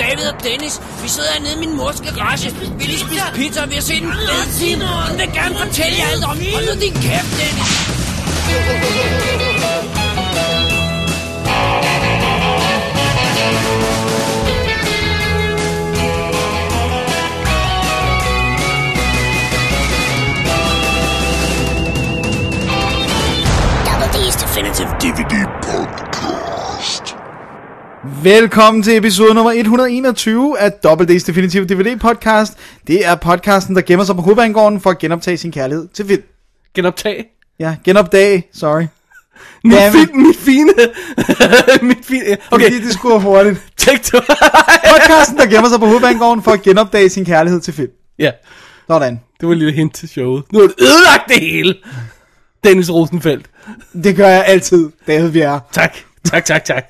tennis. Vi sidder hernede i min mors garage. Vi lige spise pizza, og vi har set en fed film. Hun vil gerne fortælle jer alt om. Hold nu din kæft, Dennis. Double D's Definitive DVD Podcast. Velkommen til episode nummer 121 af Double D's Definitive DVD podcast. Det er podcasten, der gemmer sig på hovedbanegården for at genoptage sin kærlighed til film. genoptage. Ja, genopdag, sorry. Min, Jamen. fin, min fine, min fine, okay, Fordi det skulle være hurtigt. take two. Podcasten, der gemmer sig på hovedbanegården for at genopdage sin kærlighed til film. ja, Sådan. det var en lille hint til showet. Nu har du ødelagt det hele. Dennis Rosenfeldt. Det gør jeg altid, David Bjerre. Tak, tak, tak, tak.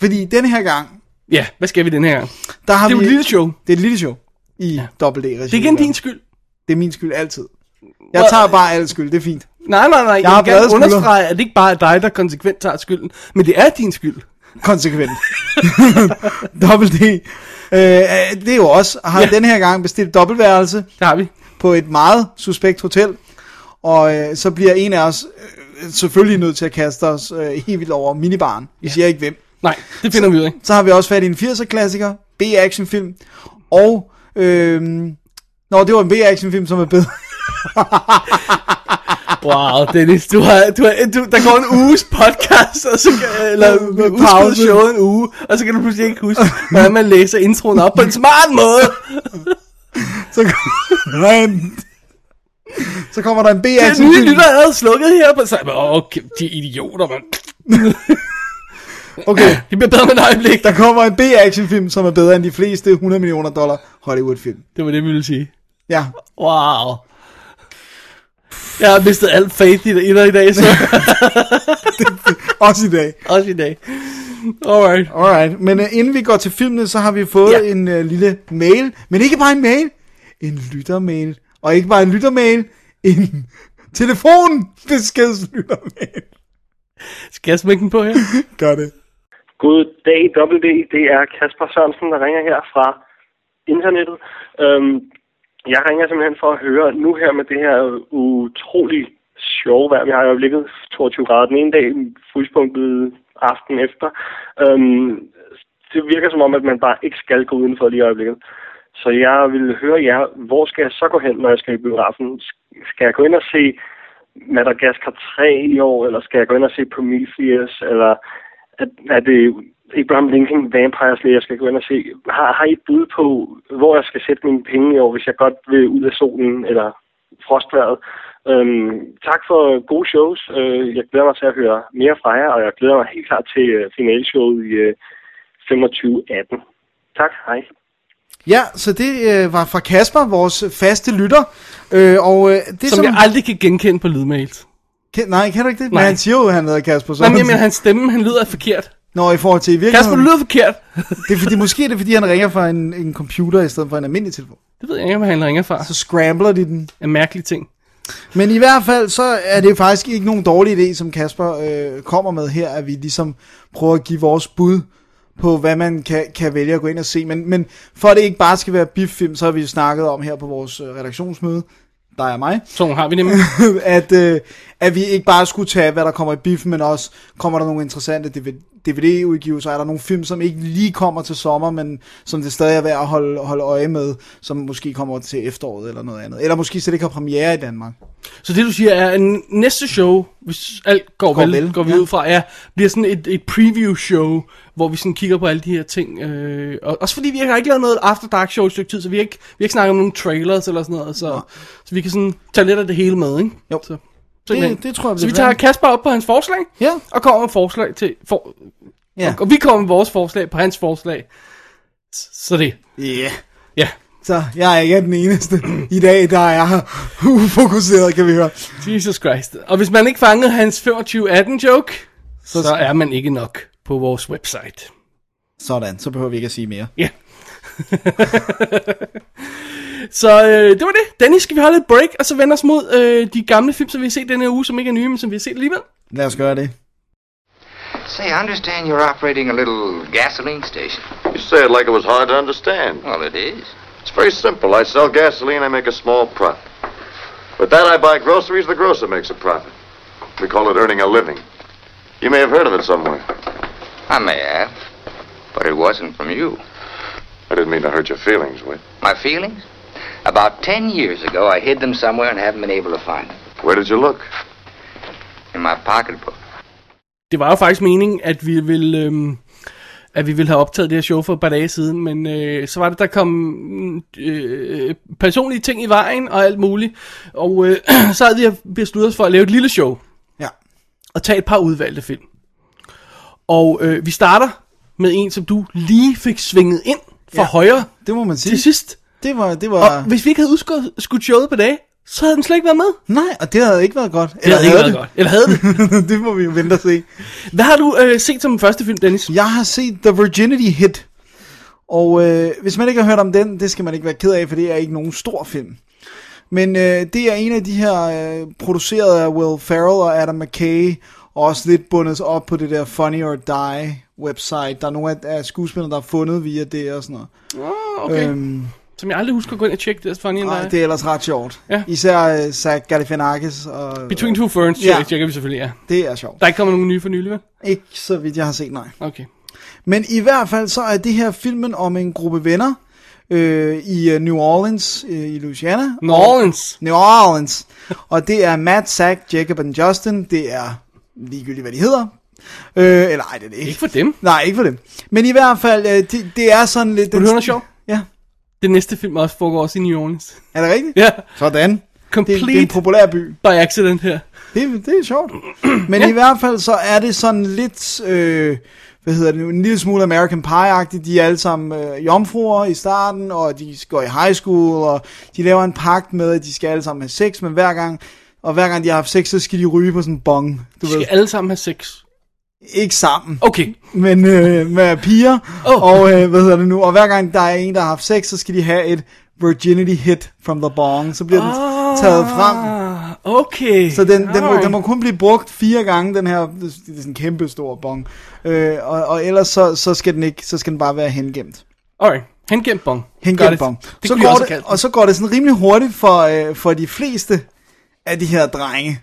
Fordi denne her gang, Ja, hvad skal vi den her gang? der har Det er jo vi... et lille show. Det er et lille show i ja. Double D. Det er igen din skyld. Det er min skyld altid. Jeg tager bare al skyld, det er fint. Nej, nej, nej. Jeg, har jeg vil brede gerne skuldre. understrege, at det ikke bare er dig, der konsekvent tager skylden, men det er din skyld. konsekvent. Double D. Øh, det er jo os, har ja. Ja. den her gang bestilt dobbeltværelse Det har vi. på et meget suspekt hotel, og øh, så bliver en af os øh, selvfølgelig nødt til at kaste os øh, helt vildt over minibaren. Vi siger ikke hvem. Nej, det finder vi ud af. Så har vi også fat i en 80'er-klassiker, B-actionfilm, og... Øh, Nå, det var en B-actionfilm, som er bedre. Wow, Dennis, du har, du har, du, der går en uges podcast, og så kan, eller Med udskyder pause. showet en uge, og så kan du pludselig ikke huske, hvordan man læser introen op på en smart måde. Så, kom... så kommer der en Den Altså, nye B-actionfilm. lytter havde slukket her på sig. Åh, okay, de er idioter, mand. Okay, Det bliver bedre med et øjeblik. Der kommer en B-actionfilm, som er bedre end de fleste 100 millioner dollar Hollywood-film. Det var det, vi ville sige. Ja, Wow. Jeg har mistet alt faith i dig i dag, så også i dag. også i dag. Alright. Alright, men uh, inden vi går til filmene, så har vi fået ja. Ja. en uh, lille mail. Men ikke bare en mail, en lyttermail. Og ikke bare en lyttermail, en telefonbeskedslyttermail. Skal jeg smække den på her? Gør det. God dag, WD. Det er Kasper Sørensen, der ringer her fra internettet. Øhm, jeg ringer simpelthen for at høre nu her med det her utrolig sjove vejr, vi har i øjeblikket. 22 grader den ene dag, fryspunktet aften efter. Øhm, det virker som om, at man bare ikke skal gå udenfor lige i øjeblikket. Så jeg vil høre jer, hvor skal jeg så gå hen, når jeg skal i biografen? Skal jeg gå ind og se Madagaskar 3 i år, eller skal jeg gå ind og se Prometheus, eller er- er det Abraham Lincoln Vampire Slayer, jeg skal gå ind og se? Har, har I et bud på, hvor jeg skal sætte mine penge i år, hvis jeg godt vil ud af solen eller frostværet? Øhm, tak for gode shows. Øh, jeg glæder mig til at høre mere fra jer, og jeg glæder mig helt klart til øh, finalshowet i øh, 25.18. Tak, hej. Ja, så det øh, var fra Kasper, vores faste lytter. Øh, og øh, det Som jeg aldrig kan genkende på lydmails. Ke- nej, kan du ikke det? Nej. Nej. Men han siger jo, at han hedder Kasper. Så Nej, men jeg mener, hans stemme, han lyder forkert. Nå, i forhold til i Kasper, virkeligheden. du lyder forkert. Det er fordi, måske er det fordi, han ringer fra en, en computer i stedet for en almindelig telefon. Det ved jeg ikke, hvad han ringer fra. Så scrambler de den. En mærkelig ting. Men i hvert fald, så er det faktisk ikke nogen dårlig idé, som Kasper øh, kommer med her, at vi ligesom prøver at give vores bud på, hvad man kan, kan vælge at gå ind og se. Men, men for at det ikke bare skal være biffilm, så har vi jo snakket om her på vores øh, redaktionsmøde, dig og mig, Så har vi nemlig. at, øh, at vi ikke bare skulle tage, hvad der kommer i biffen, men også kommer der nogle interessante DVD-udgivelser, er der nogle film, som ikke lige kommer til sommer, men som det stadig er værd at holde, holde øje med, som måske kommer til efteråret eller noget andet. Eller måske slet ikke har premiere i Danmark. Så det du siger er, at næste show, hvis alt går, Går går vel, vel, går vi ja. ja. ud fra, ja, bliver sådan et, et preview show, hvor vi sådan kigger på alle de her ting. Øh, og også fordi vi har ikke lavet noget After Dark show i et stykke tid, så vi har ikke, vi har ikke snakket om nogen trailers eller sådan noget, så, så vi kan sådan tage lidt af det hele med, ikke? Jo. Så, Det, det tror jeg så vi bliver tager planen. Kasper op på hans forslag, Ja, og kommer med forslag til, for, ja. og vi kommer med vores forslag på hans forslag. S- Så det, Yeah. ja. Så jeg er ikke den eneste i dag, der er ufokuseret, kan vi høre. Jesus Christ. Og hvis man ikke fangede hans 2518 joke, så, så er man ikke nok på vores website. Sådan, så behøver vi ikke at sige mere. Ja. så øh, det var det. Dennis, skal vi holde et break, og så vende os mod øh, de gamle film, som vi har set denne uge, som ikke er nye, men som vi har set alligevel. Lad os gøre det. Say, I understand you're operating a little gasoline station. You say it like it was hard to understand. Well, it is. It's very simple. I sell gasoline, I make a small profit. With that, I buy groceries, the grocer makes a profit. We call it earning a living. You may have heard of it somewhere. I may have, but it wasn't from you. I didn't mean to hurt your feelings, Whit. My feelings? About ten years ago, I hid them somewhere and haven't been able to find them. Where did you look? In my pocketbook. Det var jo faktisk meningen, at vi ville... Øhm, at vi ville have optaget det her show for et par dage siden, men øh, så var det, der kom øh, personlige ting i vejen og alt muligt, og øh, så havde vi besluttet os for at lave et lille show Ja. og tage et par udvalgte film. Og øh, vi starter med en, som du lige fik svinget ind fra ja. Ja. højre Det må man sige. til sidst. Det var, det Og var... ja. hvis vi ikke havde udskudt skudt showet på dag, så havde den slet ikke været med. Nej, og det havde ikke været godt. Det havde ikke havde været godt. Eller havde det. det? det må vi jo vente og se. Hvad har du øh, set som den første film, Dennis? Jeg har set The Virginity Hit. Og øh, hvis man ikke har hørt om den, det skal man ikke være ked af, for det er ikke nogen stor film. Men øh, det er en af de her øh, produceret af Will Ferrell og Adam McKay, og også lidt bundet op på det der Funny or Die website. Der er nogle af, af skuespillere, der er fundet via det og sådan noget. Oh, okay. Øhm, Øhm, som jeg aldrig husker at gå ind og tjekke. Det er funny nej, and det er ellers ret sjovt. Ja. Især øh, Zach Galifianakis, og Between Two Ferns Ja. ja. tjekker vi selvfølgelig, ja. det er sjovt. Der er ikke kommet nogen nye for nylig, vel? Ikke så vidt jeg har set, nej. Okay. Men i hvert fald så er det her filmen om en gruppe venner øh, i øh, New Orleans, øh, i Louisiana. New Orleans. New Orleans. Og det er Matt, Zach, Jacob og Justin. Det er ligegyldigt, hvad de hedder. Øh, eller ej, det er det ikke. Ikke for dem. Nej, ikke for dem. Men i hvert fald, øh, det, det er sådan lidt... Vil du høre noget sjovt? Ja, Det næste film også foregår også i New Orleans. er det rigtigt? ja. Sådan. Det, Complete det er en populær by. by accident her. Det, det er sjovt. Men ja. i hvert fald så er det sådan lidt, øh, hvad hedder det nu, en lille smule American Pie-agtigt. De er alle sammen øh, jomfruer i starten, og de går i high school, og de laver en pagt med, at de skal alle sammen have sex, men hver gang, og hver gang de har haft sex, så skal de ryge på sådan en bong. Du De ved, skal alle sammen have sex. ikke sammen, Okay. men øh, med piger, Åh. oh. og øh, hvad hedder det nu, og hver gang der er en, der har haft sex, så skal de have et virginity hit from the bong, så bliver den taget frem. Ah, Okay. Så den, den, må, Alright. den må kun blive brugt fire gange, den her, det er sådan en kæmpe stor bong. Øh, og, og ellers så, så, skal den ikke, så skal den bare være hengemt. Alright. Hengemt bong. Got Hengemt it. bong. Det Så kunne jeg går også have det, kaldt og så går det sådan rimelig hurtigt for, øh, for de fleste af de her drenge.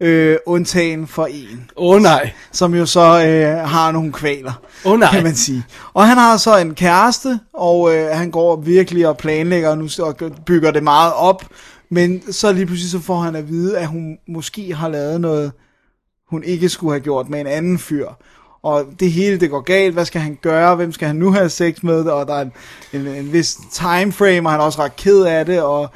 Øh, undtagen for en, den. Åh oh, nej. som jo så øh, har nogle kvaler, Åh oh, nej. kan man sige. Og han har så en kæreste, og øh, han går virkelig og planlægger, og nu s- og bygger det meget op. Men så lige pludselig så får han at vide, at hun måske har lavet noget hun ikke skulle have gjort med en anden fyr. Og det hele, det går galt. Hvad skal han gøre? Hvem skal han nu have sex med? Og der er en, en, en vis timeframe, og han er også ret ked af det. Og,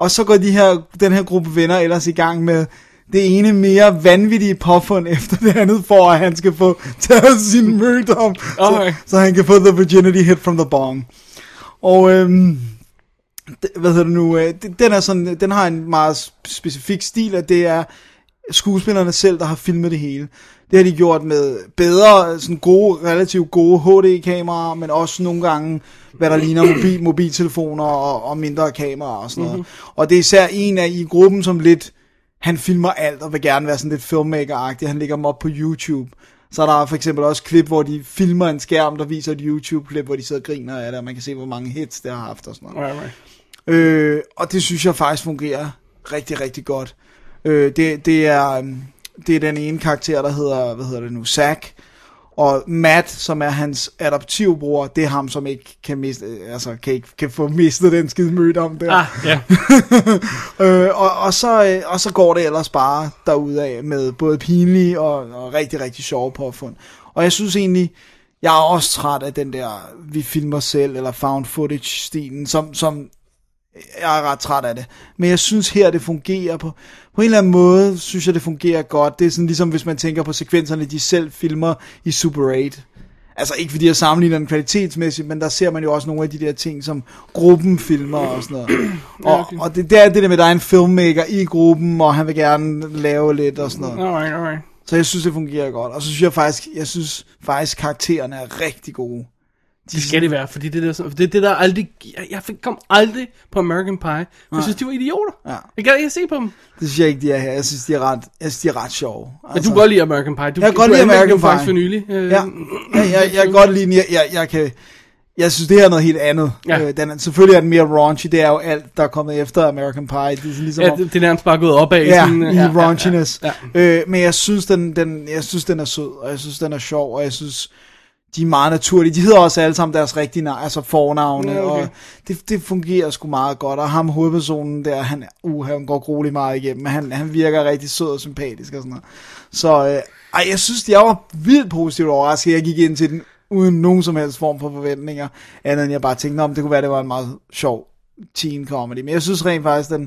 og så går de her, den her gruppe venner ellers i gang med det ene mere vanvittige påfund efter det andet, for at han skal få taget sin mødom, Okay. så, så han kan få the virginity hit from the bong. Og øhm, d- hvad hedder det nu, øh, d- den, er sådan, den har en meget sp- specifik stil, og det er skuespillerne selv, der har filmet det hele. Det har de gjort med bedre, sådan gode, relativt gode HD-kameraer, men også nogle gange, hvad der ligner mobil, mobiltelefoner og, og mindre kameraer og sådan noget. Mm-hmm. Og det er især en af i gruppen, som lidt, han filmer alt og vil gerne være sådan lidt filmmaker-agtig. Han lægger dem op på YouTube. Så er der for eksempel også klip, hvor de filmer en skærm, der viser et YouTube-klip, hvor de sidder og griner af det, og man kan se, hvor mange hits det har haft og sådan noget. Alright, alright. Øh, og det synes jeg faktisk fungerer rigtig, rigtig godt. Øh, det, det, er, øhm, det er den ene karakter, der hedder, hvad hedder det nu, Zack. Og Matt, som er hans adoptivbror, det er ham, som ikke kan, miste, øh, altså, kan, ikke, kan få mistet den skide møde om der. Ah, ja. Øh, og, og, så, øh, og så går det ellers bare derudad med både pinlige og, og rigtig, rigtig sjove påfund. Og jeg synes egentlig, jeg er også træt af den der, vi filmer selv, eller found footage-stilen, som, som jeg er ret træt af det. Men jeg synes her, det fungerer på, på en eller anden måde, synes jeg, det fungerer godt. Det er sådan ligesom, hvis man tænker på sekvenserne, de selv filmer i Super 8. Altså ikke fordi jeg sammenligner den kvalitetsmæssigt, men der ser man jo også nogle af de der ting, som gruppen filmer og sådan noget. Og, og det, det er det der med, at der er en filmmaker i gruppen, og han vil gerne lave lidt og sådan noget. Alright, alright. Så jeg synes, det fungerer godt. Og så synes jeg faktisk, jeg synes faktisk, karaktererne er rigtig gode. Det skal det være, fordi det er det, der, det, er det der aldrig... Jeg, jeg fik- kom aldrig på American Pie, for jeg synes, de var idioter. Ja. Jeg gad ikke at se på dem. Det synes jeg ikke, de er her. Jeg synes, de er ret, jeg synes, de er ret sjove. Altså, Men du kan godt lide American Pie. Du, Jeg kan godt du lide anmeldte den American faktisk Pie. for nylig. Øh, Ja, jeg, jeg, jeg kan godt lide den. Jeg, jeg, jeg, kan, jeg synes, det her er noget helt andet. Ja. Øh, den er, selvfølgelig er den mere raunchy. Det er jo alt, der er kommet efter American Pie. Det er sådan ligesom Ja, om- det, det er nærmest bare gået opad. Ja, sådan, øh, i raunchiness. ja, Ja, ja, ja. Øh, men jeg synes den, den, jeg synes, den er sød, og jeg synes, den er sjov, og jeg synes, de er meget naturlige. De hedder også alle sammen deres rigtige navn, altså fornavne, Ja, ja, okay. okay. og det, det fungerer sgu meget godt. Og ham hovedpersonen der, han, er- uh, han går grueligt meget igennem, men han, han virker rigtig sød og sympatisk og sådan noget. Så øh, ej, jeg synes, jeg var vildt positivt overrasket. Jeg gik ind til den uden nogen som helst form for forventninger, andet end jeg bare tænkte, om det kunne være, det var en meget sjov teen comedy. Men jeg synes rent faktisk, den,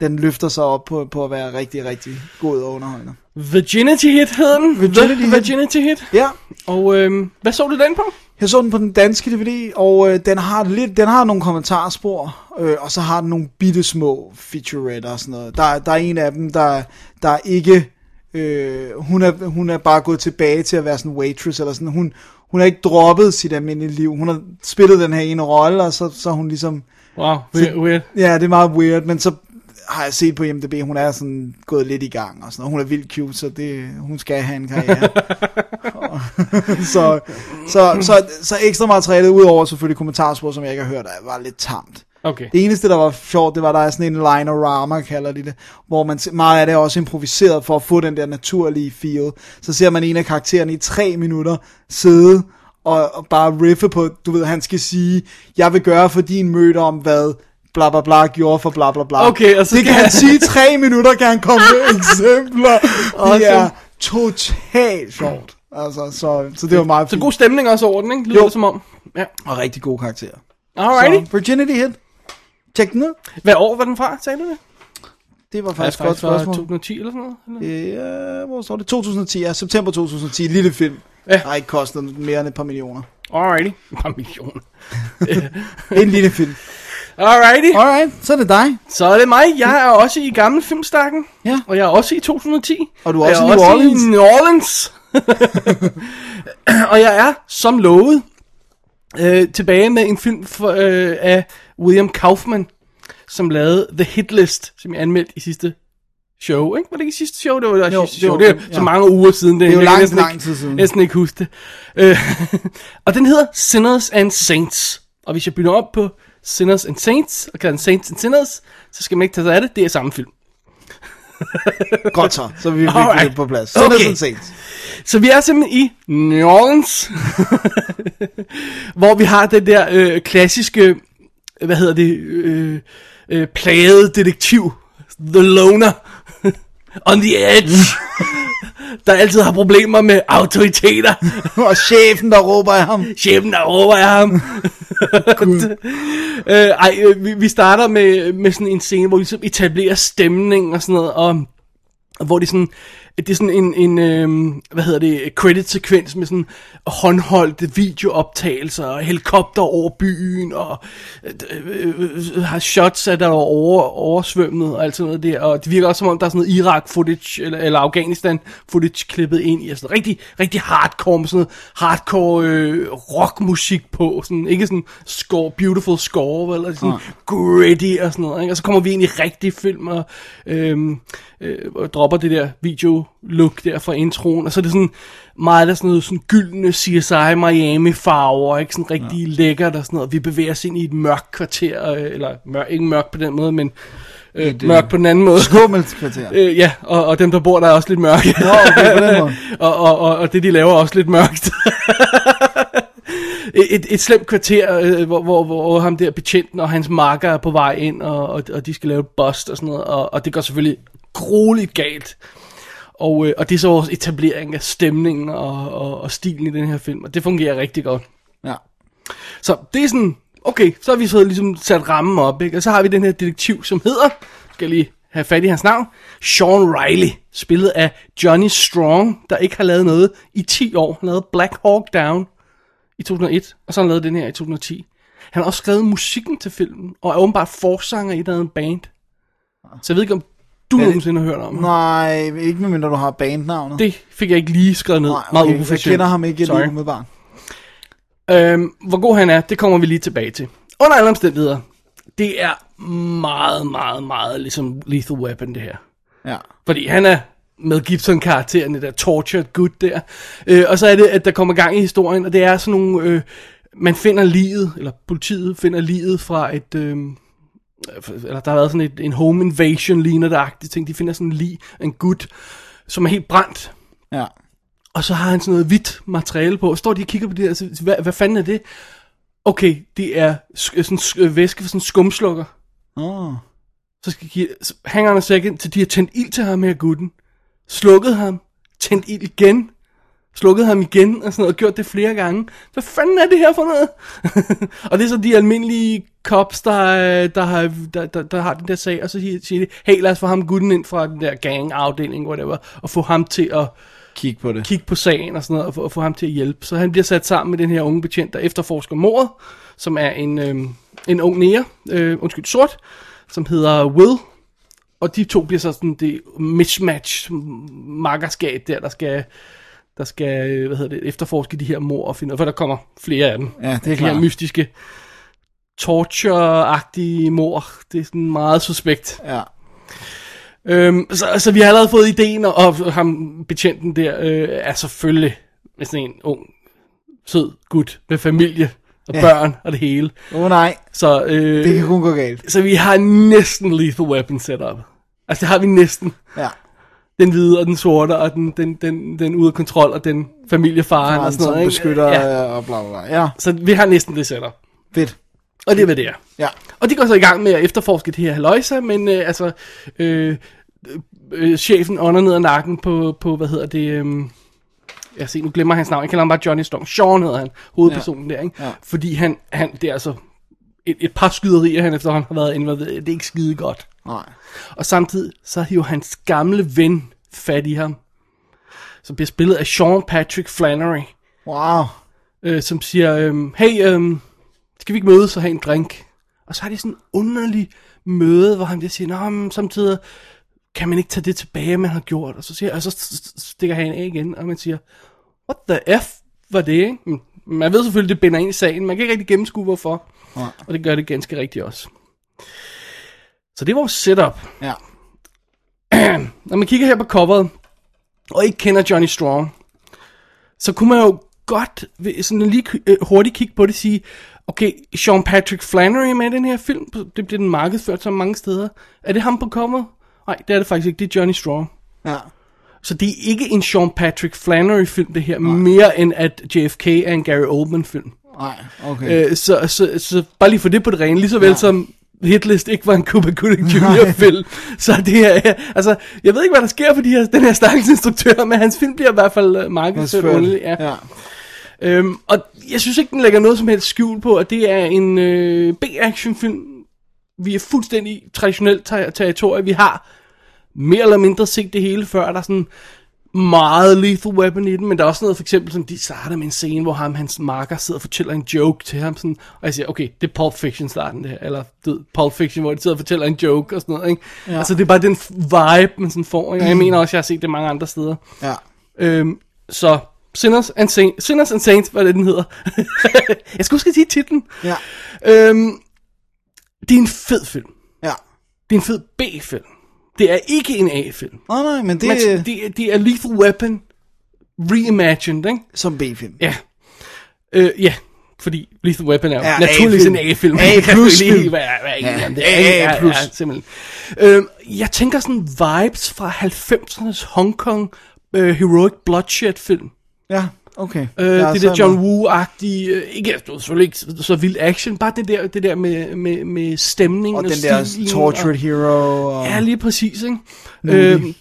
den løfter sig op på, på at være rigtig, rigtig god og underholdende. Virginity Hit hed den. Virginity The Hit. Virginity Hit. Ja, Og øhm, hvad så du den på? jeg så den på den danske DVD, og øh, den, har lidt, den har nogle kommentarspor, øh, og så har den nogle bitte små featuretter og sådan noget. Der, der er en af dem, der, der er ikke... Øh, hun, er, hun er bare gået tilbage til at være sådan en waitress, eller sådan. Hun, hun har ikke droppet sit almindelige liv. Hun har spillet den her ene rolle, og så, så er hun ligesom... Wow, weird. weird. Ja, det er meget weird, men så har jeg set på IMDb, hun er sådan gået lidt i gang og sådan noget. Hun er vildt cute, så det, hun skal have en karriere. så, så, så, så ekstra materialet, udover selvfølgelig kommentarspor, som jeg ikke har hørt, var lidt tamt. Okay. Det eneste, der var sjovt, det var, der er sådan en linorama, kalder de det, hvor man, se- meget af det er også improviseret for at få den der naturlige feel. Så ser man en af karaktererne i tre minutter sidde og, og bare riffe på, du ved, han skal sige, jeg vil gøre for din møde om, hvad bla bla bla gjorde for bla bla bla. Okay, og så det skal kan han han- sige i tre minutter, kan han komme med eksempler. Awesome. Det er totalt sjovt. Altså, så, så det var meget Så fint. god stemning også over den, ikke? Lyder Jo. det som om. Ja. Og rigtig god karakter. Alrighty. Så, virginity hit. Tjek den ud. Hvad år var den fra, sagde du det? Det var Ja, faktisk et godt fra spørgsmål. 2010 eller sådan noget? Eller? Øh, Ja, hvor står det? 2010, ja. September 2010. Lille film. Ja. Ja. Har ikke kostet mere end et par millioner. Alrighty. Bare million. En lille film. Alrighty. Alright, så er det dig. Så er det mig. Jeg er også i gamle filmstakken. Ja. Og jeg er også i 2010. Og du er jeg også i New Orleans. New Orleans. og jeg er, som lovet, øh, tilbage med en film for, øh, af William Kaufman, som lavede The Hit List, som jeg anmeldte i sidste show. Ikke? Var det ikke i sidste show? Det var der Jo, sidste det show. var Det er jo det, så ja. mange uger siden. Det er jo jeg kan lang, næsten lang ikke- tid siden. næsten ikke huske det. Øh, og den hedder Sinners and Saints. Og hvis jeg bytter op på Sinners and Saints, og kalder den Saints and Sinners, så skal man ikke tage sig af det. Det er samme film. Godt så. Så er vi virkelig Alright. lidt på plads. Så okay. er Okay. det sådan set. Så vi er simpelthen i New Orleans, hvor vi har den der øh, klassiske, hvad hedder det, øh, øh, plagede detektiv, The Loner, on the edge, der altid har problemer med autoriteter. Og chefen, der råber af ham. Chefen, der overvejer ham. øh, ej, øh, vi, vi starter med, med sådan en scene, hvor vi ligesom etablerer stemning og sådan noget, og hvor det er sådan, det er sådan en, en øhm, hvad hedder det, credit-sekvens med sådan håndholdte videooptagelser, og helikopter over byen, og øh, øh, har shots af der er over, oversvømmet, og alt sådan noget der, og det virker også som om, der er sådan noget Irak-footage, eller, eller Afghanistan-footage klippet ind i, og sådan noget rigtig, rigtig hardcore, med sådan noget hardcore øh, rockmusik på, sådan, ikke sådan score, beautiful score, eller sådan gritty og sådan noget, ikke? og så kommer vi ind i rigtig film, og øhm, øh, og dropper det der video-look der fra introen, og så er det sådan meget der sådan noget sådan gyldne CSI Miami-farver, ikke sådan rigtig ja. lækkert og sådan noget, vi bevæger os ind i et mørkt kvarter, øh, eller mør, ikke mørkt på den måde, men øh, mørkt på den anden måde. Skummelt kvarter. Øh, ja, og, og dem der bor der er også lidt mørke. Nå, okay, på den måde. og, og, og, og det de laver er også lidt mørkt. et, et slemt kvarter, øh, hvor, hvor, hvor ham der betjenten og hans marker er på vej ind, og, og, og de skal lave et bust og sådan noget, og, og det går selvfølgelig grueligt galt. Og, øh, og det er så vores etablering af stemningen og, og, og stilen i den her film, og det fungerer rigtig godt. Ja. Så det er sådan, okay, så har vi så ligesom sat rammen op, ikke? Og så har vi den her detektiv, som hedder, skal jeg lige have fat i hans navn, Sean Riley, spillet af Johnny Strong, der ikke har lavet noget i 10 år. Han lavede Black Hawk Down i 2001, og så har han lavet den her i 2010. Han har også skrevet musikken til filmen, og er åbenbart forsanger i et eller andet band. Så jeg ved ikke, om du nogensinde har hørt om ham. Nej, ikke medmindre du har bandnavnet. Det fik jeg ikke lige skrevet ned. Nej, Meget okay. Jeg uprofessionelt. kender ham ikke Sorry. lige umiddelbart. Øhm, hvor god han er, det kommer vi lige tilbage til. Under alle omstændigheder, det er meget, meget, meget ligesom Lethal Weapon, det her. Ja. Fordi han er med Gibson-karakteren, det der tortured good der. Øh, og så er det, at der kommer gang i historien, og det er sådan nogle... Øh, man finder livet, eller politiet finder livet fra et... Øh, eller der har været sådan et, en home invasion ligner der agtigt ting. De finder sådan en lig, af en gut, som er helt brændt. Ja. Og så har han sådan noget hvidt materiale på. Og står de og kigger på det der, og så, hvad, hvad fanden er det? Okay, det er sk- sådan sk- øh, væske fra sådan en skumslukker. Oh. Så skal give, så hang on a second, til de har tændt ild til ham her gutten. Slukket ham. Tændt ild igen. Slukket ham igen og sådan noget, og gjort det flere gange. Hvad fanden er det her for noget? og det er så de almindelige cops, der, øh, der, har, der, der, der har den der sag, og så siger, siger de, hey lad os få ham gutten ind fra den der gang-afdeling, whatever, og få ham til at Kig på det. kigge på sagen og sådan noget, og få, og få ham til at hjælpe. Så han bliver sat sammen med den her unge betjent, der efterforsker mordet, som er en, øh, en ung nære, øh, undskyld, sort, som hedder Will. Og de to bliver så sådan det mismatch, makkerskab der, der skal, der skal øh, hvad hedder det, efterforske de her mor og finde ud af, for der kommer flere af dem. Ja, det er de her klart. mystiske torture-agtige mor. Det er sådan meget suspekt. Ja. Øhm, så, så vi har allerede fået ideen, og, og ham betjenten der øh, er selvfølgelig sådan en ung, sød gut med familie og Ja. børn og det hele. Åh oh, nej, Så, øh, det kan kun gå galt. så vi har næsten lethal weapon setup. Altså det har vi næsten. Ja. Den hvide og den sorte og den, den, den, den ude af kontrol og den familiefaren og Han sådan som noget. ikke? beskytter Ja, ja. og bla bla bla. Ja, så vi har næsten det setup. fedt. Og det er, hvad det er. Ja. Og de går så i gang med at efterforske det her haløjsa, men øh, altså, øh, øh, chefen ånder ned ad nakken på, på hvad hedder det, øh, jeg se, nu glemmer jeg hans navn, jeg kalder ham bare Johnny Storm, Sean hedder han, hovedpersonen ja. der, ikke? Ja. Fordi han, han, det er altså et, et par skyderier, han efterhånden har været involveret i, det er ikke skide godt. Nej. Og samtidig så hiver hans gamle ven fat i ham, som bliver spillet af Sean Patrick Flannery, Wow. øh, som siger, øh, hey, øh, skal vi ikke mødes og have en drink? Og så har de sådan en underlig møde, hvor han der siger, nå, men samtidig kan man ikke tage det tilbage, man har gjort. Og så, siger, og så stikker han af igen, og man siger, what the F var det, ikke? Men Man ved selvfølgelig, det binder ind i sagen. Man kan ikke rigtig gennemskue, hvorfor. Nej. Og det gør det ganske rigtigt også. Så det er vores setup. Ja. Når man kigger her på coveret, og ikke kender Johnny Strong, så kunne man jo godt ved- sådan lige øh, hurtigt kigge på det og sige, okay, Sean Patrick Flannery er med i den her film, det bliver den markedsført så mange steder. Er det ham på coveret? Nej, det er det faktisk ikke, det er Johnny Strong. Ja. Så det er ikke en Sean Patrick Flannery film, det her, Nej. mere end at JFK er en Gary Oldman film. Nej, okay. Øh, så, så, så bare lige for det på det rene, lige så vel ja. som Hitlist ikke var en Cuba Gooding Jr. film. Så det er, altså, jeg ved ikke, hvad der sker for de her, den her stakkels instruktør, men hans film bliver i hvert fald øh, markedsført underligt. Ja. ja. Øhm, og jeg synes ikke, den lægger noget som helst skjul på, at det er en øh, B-action-film. Vi er fuldstændig traditionelt ter- territorie. Vi har mere eller mindre set det hele før. Der er sådan meget lethal weapon i den, men der er også noget, for eksempel, som de starter med en scene, hvor ham, hans marker sidder og fortæller en joke til ham, sådan, og jeg siger, okay, det er Pulp Fiction starten det her, eller du ved, Pulp Fiction, hvor de sidder og fortæller en joke og sådan noget, ikke? Ja. Altså, det er bare den f- vibe, man sådan får, ikke? og jeg mener også, jeg har set det mange andre steder. Ja. Øhm, så Sinners and, Saints, Sinners and Saints, hvad er det, den hedder. jeg skulle huske at sige titlen. Ja. Øhm, det er en fed film. Ja. Det er en fed B-film. Det er ikke en A-film. Nå, nej, men det Men er det, er- det er Lethal Weapon reimagined, ikke? som B-film. Ja. Øh, ja, fordi Lethal Weapon er jo Ja, ja, naturligvis A-film. en A-film. A+-film. Jeg kan jo ikke lige være- være enig Ja, om det. Ja, ja, A+. ja, simpelthen. Øhm, jeg tænker sådan vibes fra 90'ernes Hong Kong øh, heroic bloodshed film. Ja, okay. Øh, Ja, det så der er John man- Woo-agtige, øh, ikke, det var selvfølgelig ikke så- så vild action, bare det der, det der med, med, med stemningen og, Og den der stilen Tortured Hero. Og... Ja, lige præcis, ikke? Øhm,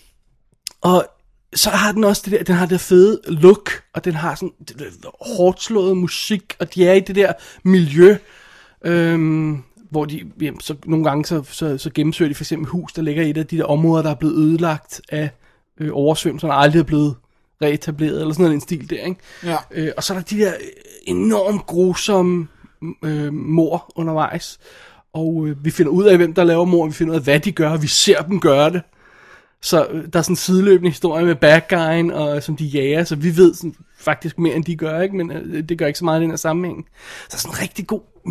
og så har den også det der, den har det der fede look, og den har sådan det, det, hårdt slået musik, og de er i det der miljø, øhm, hvor de, ja, så nogle gange så, så, så gennemsøger de for eksempel hus, der ligger i et af de der områder, der er blevet ødelagt af øh, oversvømmelser, der aldrig er blevet reetableret, eller sådan noget, en stil der, ikke? Ja. Øh, og så er der de der øh, enormt grusomme øh, mor undervejs. Og øh, vi finder ud af, hvem der laver mor, vi finder ud af, hvad de gør, og vi ser dem gøre det. Så øh, der er sådan en sideløbende historie med bad guyen, og, øh, som de jager, så vi ved sådan, faktisk mere, end de gør, ikke? men øh, det gør ikke så meget i den her sammenhæng. Så der er sådan en rigtig god, m-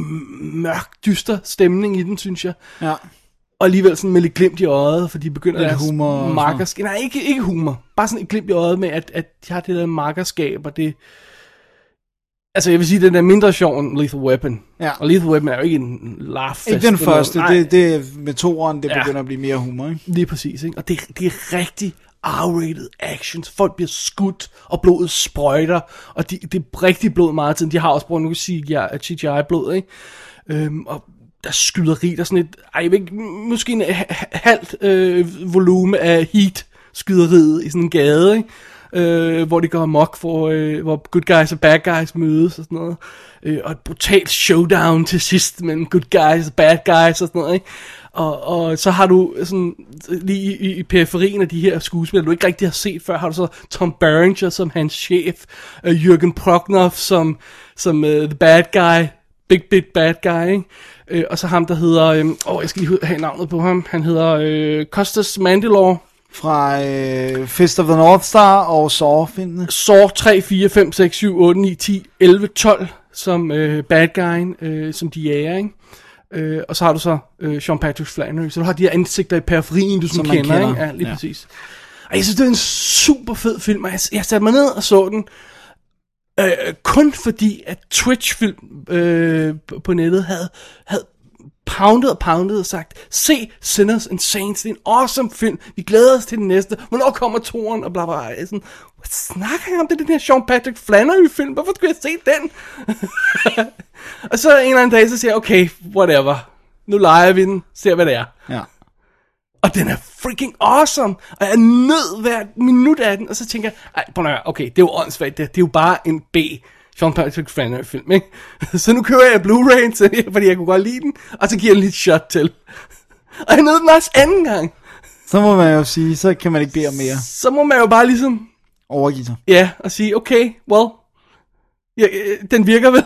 mørk, dyster stemning i den, synes jeg. Ja. Og alligevel sådan med lidt glimt i øjet, for de begynder Lidt deres humor og sådan markerskab. Nej, ikke, ikke humor. Bare sådan et glimt i øjet med, at, at de har det der markerskab, og det... Altså, jeg vil sige, den er mindre sjov end Lethal Weapon. Ja. Og Lethal Weapon er jo ikke en laugh Ikke den første, det, det er med toeren, det Ja. begynder at blive mere humor, ikke? Lige præcis, ikke? Og det, det er rigtig R-rated actions. Folk bliver skudt, og blodet sprøjter, og de, det er rigtig blod meget af tiden. De har også brugt nogle CGI-blod, ikke? Øhm, og der er skyderi, der er sådan et, ej, jeg ved ikke, måske en ha- ha- halvt øh, volume af heat skyderiet i sådan en gade, ikke? Øh, hvor de går amok, hvor, øh, hvor good guys og bad guys mødes og sådan noget. Øh, og et brutalt showdown til sidst mellem good guys og bad guys og sådan noget. Ikke? Og, og så har du sådan, lige i, i periferien af de her skuespillere, du ikke rigtig har set før, har du så Tom Berenger som hans chef, øh, Jürgen Prochnow som, som øh, the bad guy, Big Big Bad Guy, ikke? Øh, og så ham, der hedder... Øh, åh, jeg skal lige have navnet på ham. Han hedder øh, Costas Mandalore. Fra øh, Fist of the North Star og saw filmene Saw 3, 4, 5, 6, 7, 8, 9, 10, 11, 12 som øh, bad guyen, øh, som de jager, ikke? Øh, og så har du så øh, Sean Patrick Flannery. Så du har de her ansigter i periferien, du sådan Som man kender, kender. Ikke? Ja, lige Ja. ja. præcis. Og jeg synes, det er en super fed film, og jeg, jeg satte mig ned og så den, øh, kun fordi, at Twitch-film øh, på- på nettet havde, havde pounded og pounded og sagt, se Sinners and Saints, det er en awesome film, vi glæder os til den næste, hvornår kommer toren, og bla bla bla. Jeg er Sådan, hvad snakker jeg om, det er den her Sean Patrick Flannery-film, hvorfor skulle jeg se den? og så en eller anden dag, så siger jeg, okay, whatever, nu leger vi den, ser hvad det er. Ja. Og den er freaking awesome. Og jeg nød hvert minut af den. Og så tænker jeg, ej, prøv nu at høre, okay, det er jo åndssvagt. Det, det er jo bare en B. Sean Patrick Flannery film, ikke? Så nu kører jeg Blu-ray, til- fordi jeg kunne godt lide den. Og så giver jeg den lige et shot til. Og jeg nød den også anden gang. Så må man jo sige, så kan man ikke bede om mere Så må man jo bare ligesom, overgive sig. ja, og sige, okay, well, ja, øh, den virker vel.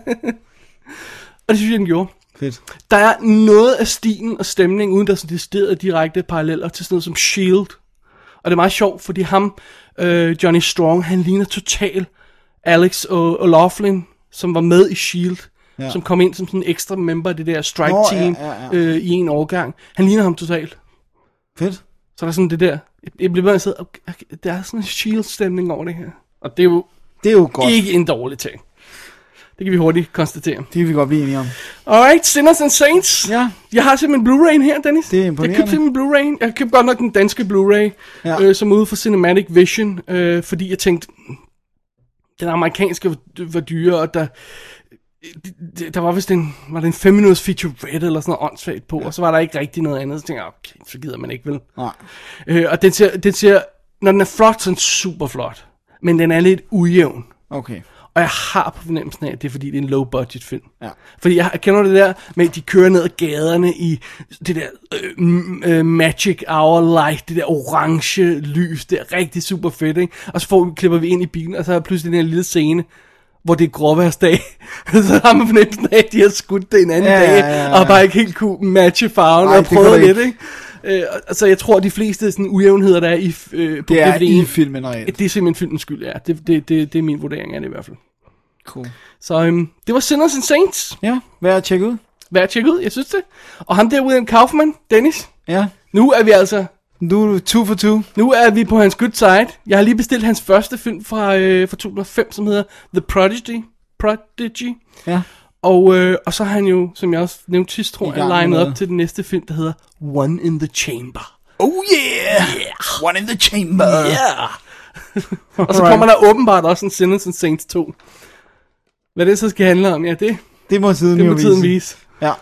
og det synes jeg, den gjorde. Fedt. Der er noget af stilen og stemningen, uden der er sådan deciderede direkte paralleller til sådan noget som S.H.I.E.L.D. E Og det er meget sjovt, fordi ham, øh, Johnny Strong, han ligner total Alex O- O'Laughlin, som var med i S.H.I.E.L.D., Ja. ja. som kom ind som sådan en ekstra member af det der strike Nå, ja, team ja, ja. Øh, i en årgang. Han ligner ham totalt. Fedt. Så der er sådan det der, jeg bliver bare sidde, okay, okay, der er sådan en S.H.I.E.L.D.-stemning over det her. Og det er jo Det er jo godt. Godt. ikke en dårlig ting. Det kan vi hurtigt konstatere. Det kan vi godt blive enige om. Alright, Sinners and Saints. Ja. Jeg har simpelthen Blu-ray'en her, Dennis. Det er Jeg imponerende. købte simpelthen Blu-ray'en. Jeg købte godt nok den danske Blu-ray, Ja. ja. øh, som er ude for Cinematic Vision, øh, fordi jeg tænkte, den amerikanske var, var dyre, og der, det- der var vist en, var det en 5 minutters featurette eller sådan noget åndssvagt på, ja. og så var der ikke rigtig noget andet. Så tænkte jeg, okay, så gider man ikke, vel? Nej. Øh, og den ser, den ser, når den er flot, så er den super flot, men den er lidt ujævn. Okay. Og jeg har på fornemmelsen af, at det er fordi, det er en low-budget film. Ja. Fordi jeg, jeg kender det der med, at de kører ned ad gaderne i det der øh, m- øh, magic hour light, det der orange lys, det er rigtig super fedt, ikke? Og så får, vi- klipper vi ind i bilen, og så er der pludselig den her lille scene, hvor det er gråværsdag. så har man fornemmelsen af, at de har skudt det en anden Ja, dag, ja, ja, ja. og har bare ikke helt kunne matche farven, Nej, og det kan prøvet du lidt, ikke. ikke? Øh, og- så jeg tror, at de fleste sådan, ujævnheder, der er i, f- øh, på Det er DVD'en, i filmen reelt. det er simpelthen filmens skyld, ja. Det, det, det, det er min vurdering af det i hvert fald. Cool. Så øhm, det var Sinners and Saints. Ja, værd at tjekke ud. Vær at tjekke ud, jeg synes det. Og ham der, William Kaufman, Dennis. Ja. Nu er vi altså, Nu er du two for two. nu er vi på hans good side. Jeg har lige bestilt hans første film fra, øh, fra 2005, som hedder The Prodigy. Prodigy. Ja. Og, øh, og så har han jo, som jeg også nævnte sidst, I tror gang med jeg, legnet noget. op til den næste film, der hedder One in the Chamber. Oh yeah! yeah. One in the chamber. Yeah! og så kommer der åbenbart også en Sinners and Saints 2. Hvad det så skal handle om, ja, det, Det må tiden det jo må vise. tiden vise. Ja.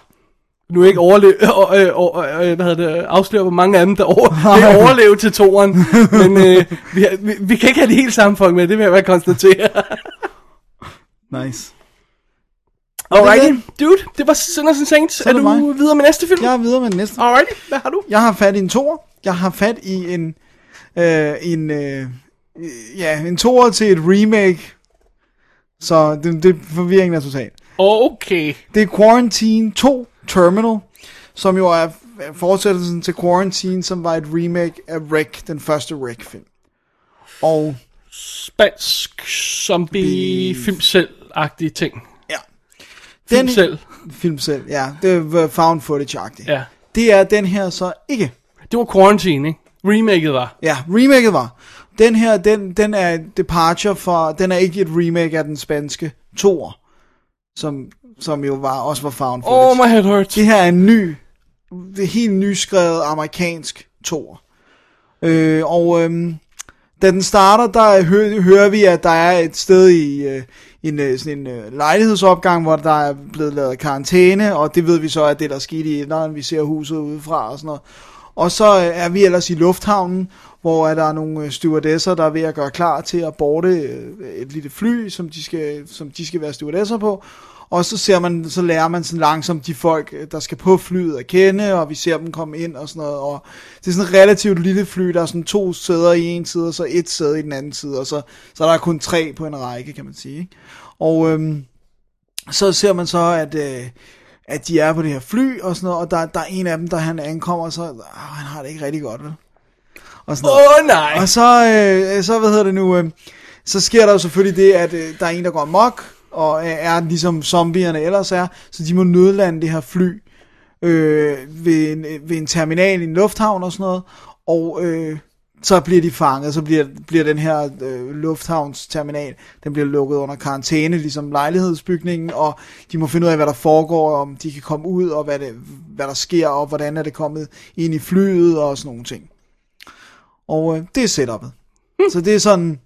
nu ikke overleve, og, øh, og, øh, hvad hedder det, afsløre, hvor mange af dem, der over, vil overleve til toren. Men øh, vi, har- vi, vi, kan ikke have det hele samfund med, det vil jeg bare konstatere. Nice. Alrighty, dude, det var Sønders Saints. Er det du mig. videre med næste film? Jeg er videre med den næste. Alrighty, hvad har du? Jeg har fat i en toer. Jeg har fat i en... Øh, en øh, øh, ja, en toer til et remake. Så det, det forvirringen er total. Okay. Det er Quarantine 2 Terminal, som jo er fortsættelsen til Quarantine, som var et remake af Wreck, den første Wreck-film. Og Spansk zombie-film selv-agtige ting. ja, Film selv. Film selv, ja. Det var found footage-agtigt. Ja. Det er den her så ikke. Det var Quarantine, ikke? Remaket var. Ja, remaket var. Den her, den, den er et departure for, den er ikke et remake af den spanske toer, som, som jo var, også var found footage. Oh, my head hurts. Det her er en ny, det er helt nyskrevet amerikansk tor. Øh, og øhm, da den starter, der hø- hører vi, at der er et sted i øh, en, øh, sådan en øh, lejlighedsopgang, hvor der er blevet lavet karantæne, og det ved vi så, at det der skete i etteren, vi ser huset udefra og sådan noget. Og så øh, er vi ellers i lufthavnen, hvor er der er nogle øh, stewardesser, der er ved at gøre klar til at borte øh, et lille fly, som de, skal, som de skal være stewardesser på. Og så, ser man, så lærer man sådan langsomt de folk, øh, der skal på flyet at kende, og vi ser dem komme ind og sådan noget. Og det er sådan et relativt lille fly, der er sådan to sæder i en side, og så et sæde i den anden side, og så, så er der kun tre på en række, kan man sige. Ikke? Og øhm, så ser man så, at, øh, at de er på det her fly og sådan noget, og der, der er en af dem, der han ankommer, og så øh, han har det ikke rigtig godt, vel? Og sådan Åh, noget. oh, nej. Og så, øh, så hvad hedder det nu, øh, så sker der jo selvfølgelig det, at øh, der er en, der går amok, og øh, er ligesom zombierne ellers er, så de må nødlande det her fly øh, ved, en, øh, ved en terminal i en lufthavn og sådan noget, og øh, så bliver de fanget, så bliver, bliver den her øh, lufthavnsterminal, den bliver lukket under karantæne, ligesom lejlighedsbygningen, og de må finde ud af, hvad der foregår, om de kan komme ud, og hvad, det, hvad der sker, og hvordan er det kommet ind i flyet, og sådan nogle ting. Og øh, det er setupet. Hmm. Så det er sådan...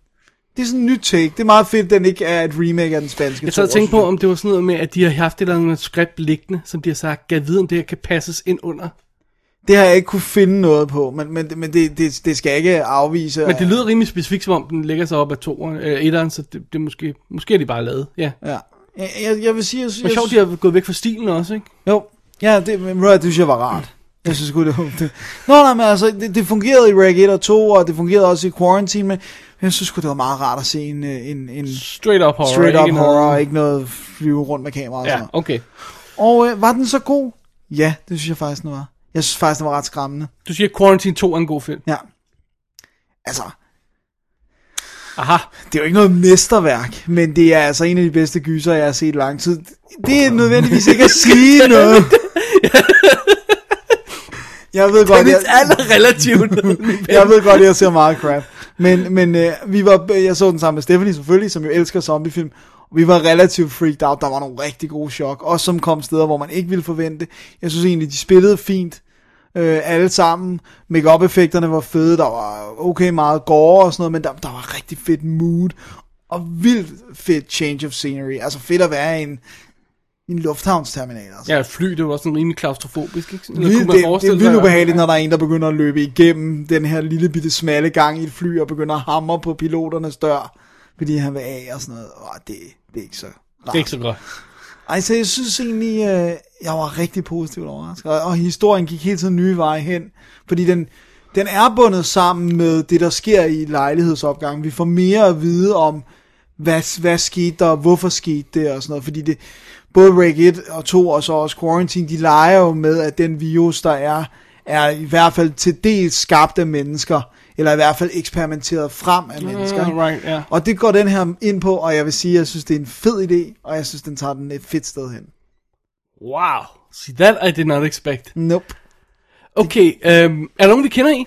Det er sådan en nyt take. Det er meget fedt, at den ikke er et remake af den spanske. Jeg sad og toer, tænkte synes på, om det var sådan noget med, at de har haft et eller andet manuskript liggende, som de har sagt, gav viden, det her kan passes ind under. Det har jeg ikke kunne finde noget på, men, men, men det, det, det skal jeg ikke afvise. Men det lyder rimelig specifikt, som om den lægger sig op af toeren, øh, etteren, så det, det er måske, måske er de bare lavet. Ja. Ja. Jeg, jeg, jeg vil sige... Jeg, Men jeg, sjovt, de har gået væk fra stilen også, ikke? Jo. Ja, det, men, right, det synes jeg var rart. Jeg synes godt, det var det. Nå, nej, men altså, det, det fungerede i Rag 1 og 2, og det fungerede også i Quarantine, men jeg synes godt, det var meget rart at se en, øh, en, en Straight up horror. straight up ikke horror, noget- og ikke Altså. noget flyve rundt med kamera og Ja, sådan noget. okay. Og øh, var den så god? Ja, det synes jeg faktisk, den var. Jeg synes faktisk, den var ret skræmmende. Du siger, Quarantine 2 er en god film. Ja. Altså, Aha. det er jo ikke noget mesterværk, men det er altså en af de bedste gyser, jeg har set i lang tid. Det er nødvendigvis ikke at sige noget. Jeg ved godt, Det er jeg, alt relativt. jeg ved godt, jeg ser meget crap. Men, men øh, vi var, jeg så den sammen med Stephanie selvfølgelig, som jo elsker zombiefilm. Vi var relativt freaked out. Der var nogle rigtig gode chok. Også som kom steder, hvor man ikke ville forvente. Jeg synes egentlig, de spillede fint. Øh, alle sammen. Make-up effekterne var fede. Der var okay meget gore og sådan noget. Men der, der var rigtig fedt mood. Og vildt fedt change of scenery. Altså fedt at være i en, i en lufthavnsterminal. Altså. ja, et fly, det var også sådan rimelig klaustrofobisk, ikke? Eller Vildt, det, det er forestille vildt sig- ubehageligt, når der er en, der begynder at løbe igennem den her lille bitte smalle gang i et fly, og begynder at hamre på piloternes dør, fordi han vil af og sådan noget. Åh, det, det er ikke så Det er ikke så godt. Ej, så jeg synes egentlig, øh, jeg var rigtig positivt overrasket, og, og historien gik hele tiden nye veje hen, fordi den, den er bundet sammen med det, der sker i lejlighedsopgangen. Vi får mere at vide om, hvad, hvad skete der, og hvorfor skete det, og sådan noget, fordi det, både Reg 1 og 2, og så også Quarantine, de leger jo med, at den virus, der er, er i hvert fald til dels skabt af mennesker, eller i hvert fald eksperimenteret frem af mennesker. Uh, ikke? right, ja. Og det går den her ind på, og jeg vil sige, at jeg synes, det er en fed idé, og jeg synes, den tager den et fedt sted hen. Wow. See, that I did not expect. Nope. Okay, øhm, er der nogen, vi kender i?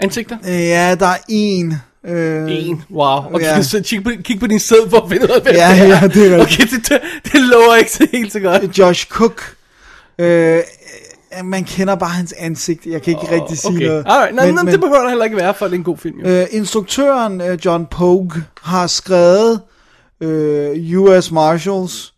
Ansigter? Øh, Ja, der er en. Øh, En. Wow. Og Ja. yeah. så kig på, kig på din sæd for at finde ud af, hvad Ja, det ja, det er rigtigt. Okay, det, det, det lover ikke så helt så godt. Josh Cook. Øh, øh, man kender bare hans ansigt. Jeg kan ikke oh, rigtig sige Okay, noget. alright. Nej, nej, det behøver der heller ikke være, for det er en god film, jo. øh, instruktøren øh, John Pogue har skrevet øh, US Marshals,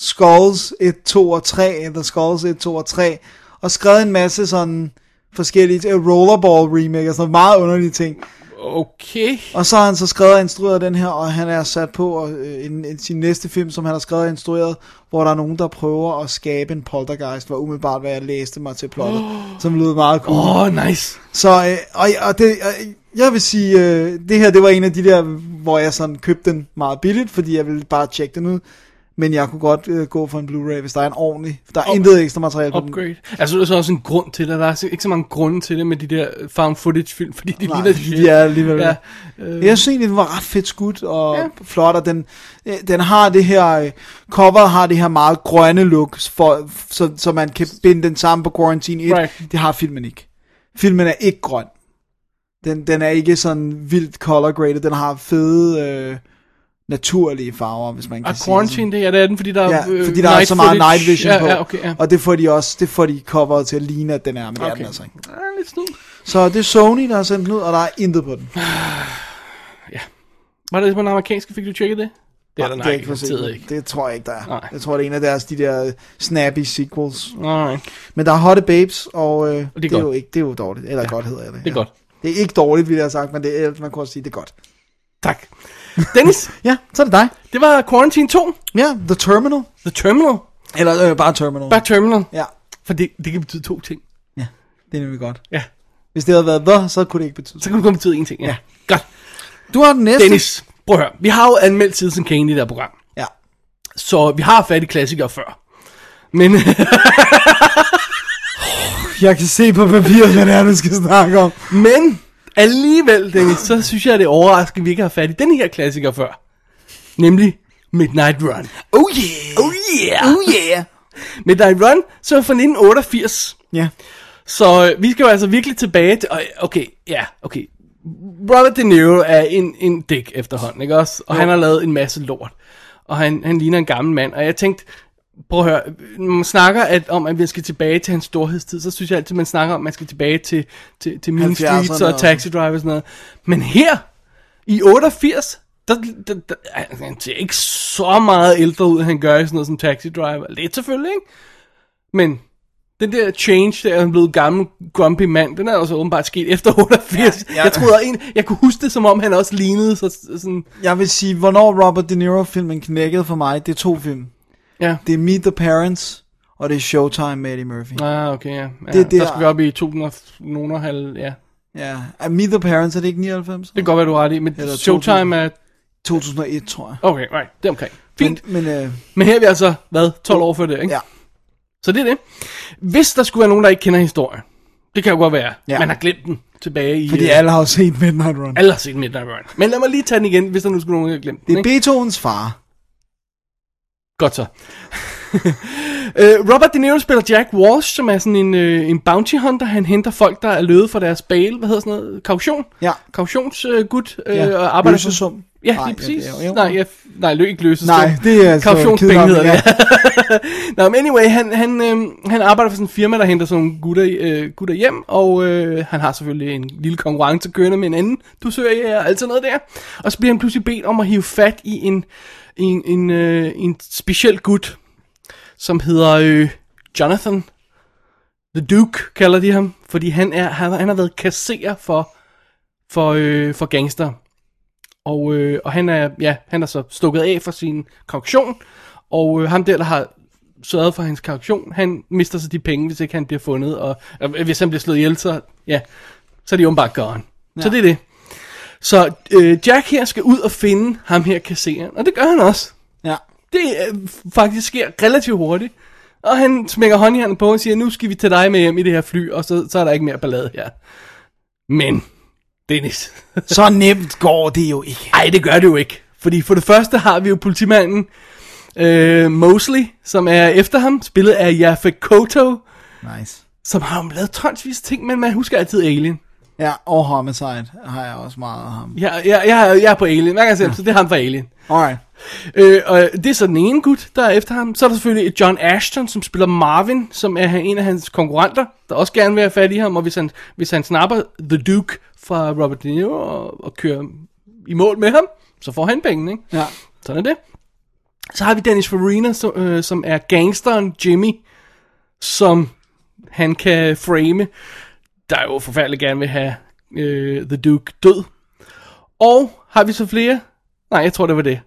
Skulls 1, 2 og 3, The Skulls 1, 2 og 3, og skrevet en masse sådan forskellige øh, rollerball remake og sådan noget, meget underlige ting. Øh. Okay. Og så har han så skrevet og instrueret den her, og han er sat på og, øh, en, en, sin næste film, som han har skrevet og instrueret, hvor der er nogen, der prøver at skabe en poltergeist, var umiddelbart, hvad jeg læste mig til plottet, oh. som lød meget cool. Åh, oh, nice. Så, øh, og, og det, og jeg vil sige, øh, det her, det var en af de der, hvor jeg sådan købte den meget billigt, fordi jeg ville bare tjekke den ud. Men jeg kunne godt øh, gå for en Blu-ray, hvis der er en ordentlig... Der er intet ekstra materiale på den. Upgrade. Altså, der er så også en grund til det. Der er så- ikke så mange grunde til det med de der found footage film, fordi de Nej, ligner de de er alligevel- Ja, Mm. Jeg synes egentlig, den var ret fedt skudt og ja. flot, og den, øh, den har det her, øh, coveret har det her meget grønne look, for, så, så man kan binde den sammen på Quarantine 1. Right. Det har filmen ikke. Filmen er ikke grøn. Den, den er ikke sådan vildt color graded, den har fede, øh, naturlige farver, hvis man kan og sige Ah, Quarantine, det Øh, er, det er den, fordi der sådan. er øh, Ja, fordi der er så meget footage. night vision ja, på, Ja, okay, ja. og det får de også, det får de coveret til at ligne, at den er, men okay. det er Okay. den altså ikke. Ah, lidt snu. Så det er Sony, der har sendt den ud, og der er intet på den. Var det på den amerikanske, fik du tjekket det? Det er der Nej, nej, det er ikke for garanteret sent. ikke. Det tror jeg ikke, der er. Nej. Jeg tror, det er en af deres, de der øh, snappy sequels. Nej, Men der er Hotte Babes, og øh, det, er det, er godt. jo ikke, det er jo dårligt. Eller ja, godt hedder det. det er godt. Det er ikke dårligt, ville jeg have sagt, men det er, man kunne også sige, det er godt. Tak. Dennis, Ja, så er det dig. det var Quarantine 2, Ja, The Terminal. The Terminal. Eller øh, bare Terminal. Bare Terminal. Ja, For det, det kan betyde to ting. det er nemlig godt. Ja, Hvis det havde været The, så kunne det ikke betyde. så kan det kun betyde én ting. Ja. Ja. ja. Godt. Du har den næste. Dennis, prøv at høre. Vi har jo anmeldt Citizen Kane i det her program. Ja. Så vi har fat i klassikere før. Men Jeg kan se på papiret, hvad det er, du skal snakke om. Men alligevel, Dennis, så synes jeg, det er overraskende, at vi ikke har fat i den her klassiker før. Nemlig Midnight Run. Oh yeah. Oh yeah! Oh yeah. Midnight Run, så er fra 1988. Ja. Så øh, vi skal jo altså virkelig tilbage til... og, Okay, ja, okay. Robert De Niro er en, en dæk efterhånden, ikke også? Og jo. han har lavet en masse lort. Og han, han ligner en gammel mand. Og jeg tænkte, prøv at høre, når man snakker at, om, at vi skal tilbage til hans storhedstid, så synes jeg altid, man snakker om, at man skal tilbage til, til, til Mean 70'erne Streets og og- Taxi Driver og sådan noget. Men her, i 88, der, der, der, altså, han ser ikke så meget ældre ud, han gør i sådan noget som Taxi Driver. Lidt selvfølgelig, ikke? Men den der change, der er han blevet gammel, grumpy mand, den er også åbenbart sket efter 88. Ja, ja. ja. Jeg troede, en, jeg kunne huske det, som om han også lignede så, sådan... Jeg vil sige, hvornår Robert De Niro-filmen knækkede for mig, det er to film. Ja. Det er Meet the Parents, og det er Showtime med Eddie Murphy. Ah, okay, ja. ja Det- det, det er- der skal vi op i 200 halv, ja. Ja, er Meet the Parents, er det ikke 99? Det kan godt være, du har ret i, men Eller Showtime er... 2001, tror jeg. Okay, right, det er omkring. Fint. Men, men øh, Men her er vi altså, hvad, 12 år før det, ikke? Ja. Så det er det. Hvis der skulle være nogen, der ikke kender historien, det kan jo godt være, Ja. ja. man har glemt den tilbage i... fordi øh, alle har jo set Midnight Run. alle har set Midnight Run. Men lad mig lige tage den igen, hvis der nu skulle nogen, der har glemt den. Det er ikke? Beethovens far. Godt så. Øh, Robert De Niro spiller Jack Walsh, som er sådan en, øh, en bounty hunter. Han henter folk, der er løbet for deres bail. Hvad hedder sådan noget? Kaution? Ja. Kautionsgud. Øh, Ja. ja. Og arbejder Løsesum. Ja, Nej, lige præcis. ja, Ja, det er jo- Nej, ja, f- nej, lø, ikke løses. Nej, det er altså Kautionspenge kidnapning, hedder det. Nå, men anyway, han, han, øh, han arbejder for sådan en firma, der henter sådan nogle gutter, øh, gutter hjem, og øh, han har selvfølgelig en lille konkurrence kørende med en anden dusør og alt sådan noget der. Og så bliver han pludselig bedt om at hive fat i en, en, en, øh, en speciel gut, som hedder øh, Jonathan. The Duke kalder de ham, fordi han, er, han, han har været kasserer for, for, øh, for gangster. Og, øh, og han, er, ja, han er så stukket af for sin kaution, og øh, ham der, der har sørget for hans kaution, han mister så de penge, hvis ikke han bliver fundet, og, og hvis han bliver slået ihjel, så, ja, så er de åbenbart gone. Ja. Så det er det. Så øh, Jack her skal ud og finde ham her kasseren, og det gør han også. Ja. Det øh, faktisk sker relativt hurtigt. Og han smækker håndjernet på og siger, nu skal vi tage dig med hjem i det her fly, og så, så er der ikke mere ballade her. Men, Dennis, Så nemt går det jo ikke. ej, det gør det jo ikke. Fordi for det første har vi jo politimanden øh, Mosley, som er efter ham, spillet af Jaffe Koto, Nice. som har jo lavet tonsvis af ting, men man husker altid Alien. Ja, og Homicide har jeg også meget af ham. Jeg, jeg, jeg, jeg er på Alien, hver gang jeg ser ham, så det er ham fra Alien. Alright. Øh, og det er så den ene gut, der er efter ham. Så er der selvfølgelig John Ashton, som spiller Marvin, som er en af hans konkurrenter, der også gerne vil have fat i ham. Og hvis han, hvis han snapper The Duke fra Robert De Niro og, og kører i mål med ham, så får han pengene, ikke? Ja. Sådan er det. Så har vi Dennis Farina, som, øh, som er gangsteren Jimmy, som han kan frame, der jo forfærdeligt gerne vil have øh, The Duke død. Og har vi så flere? Nej, jeg tror, det var det.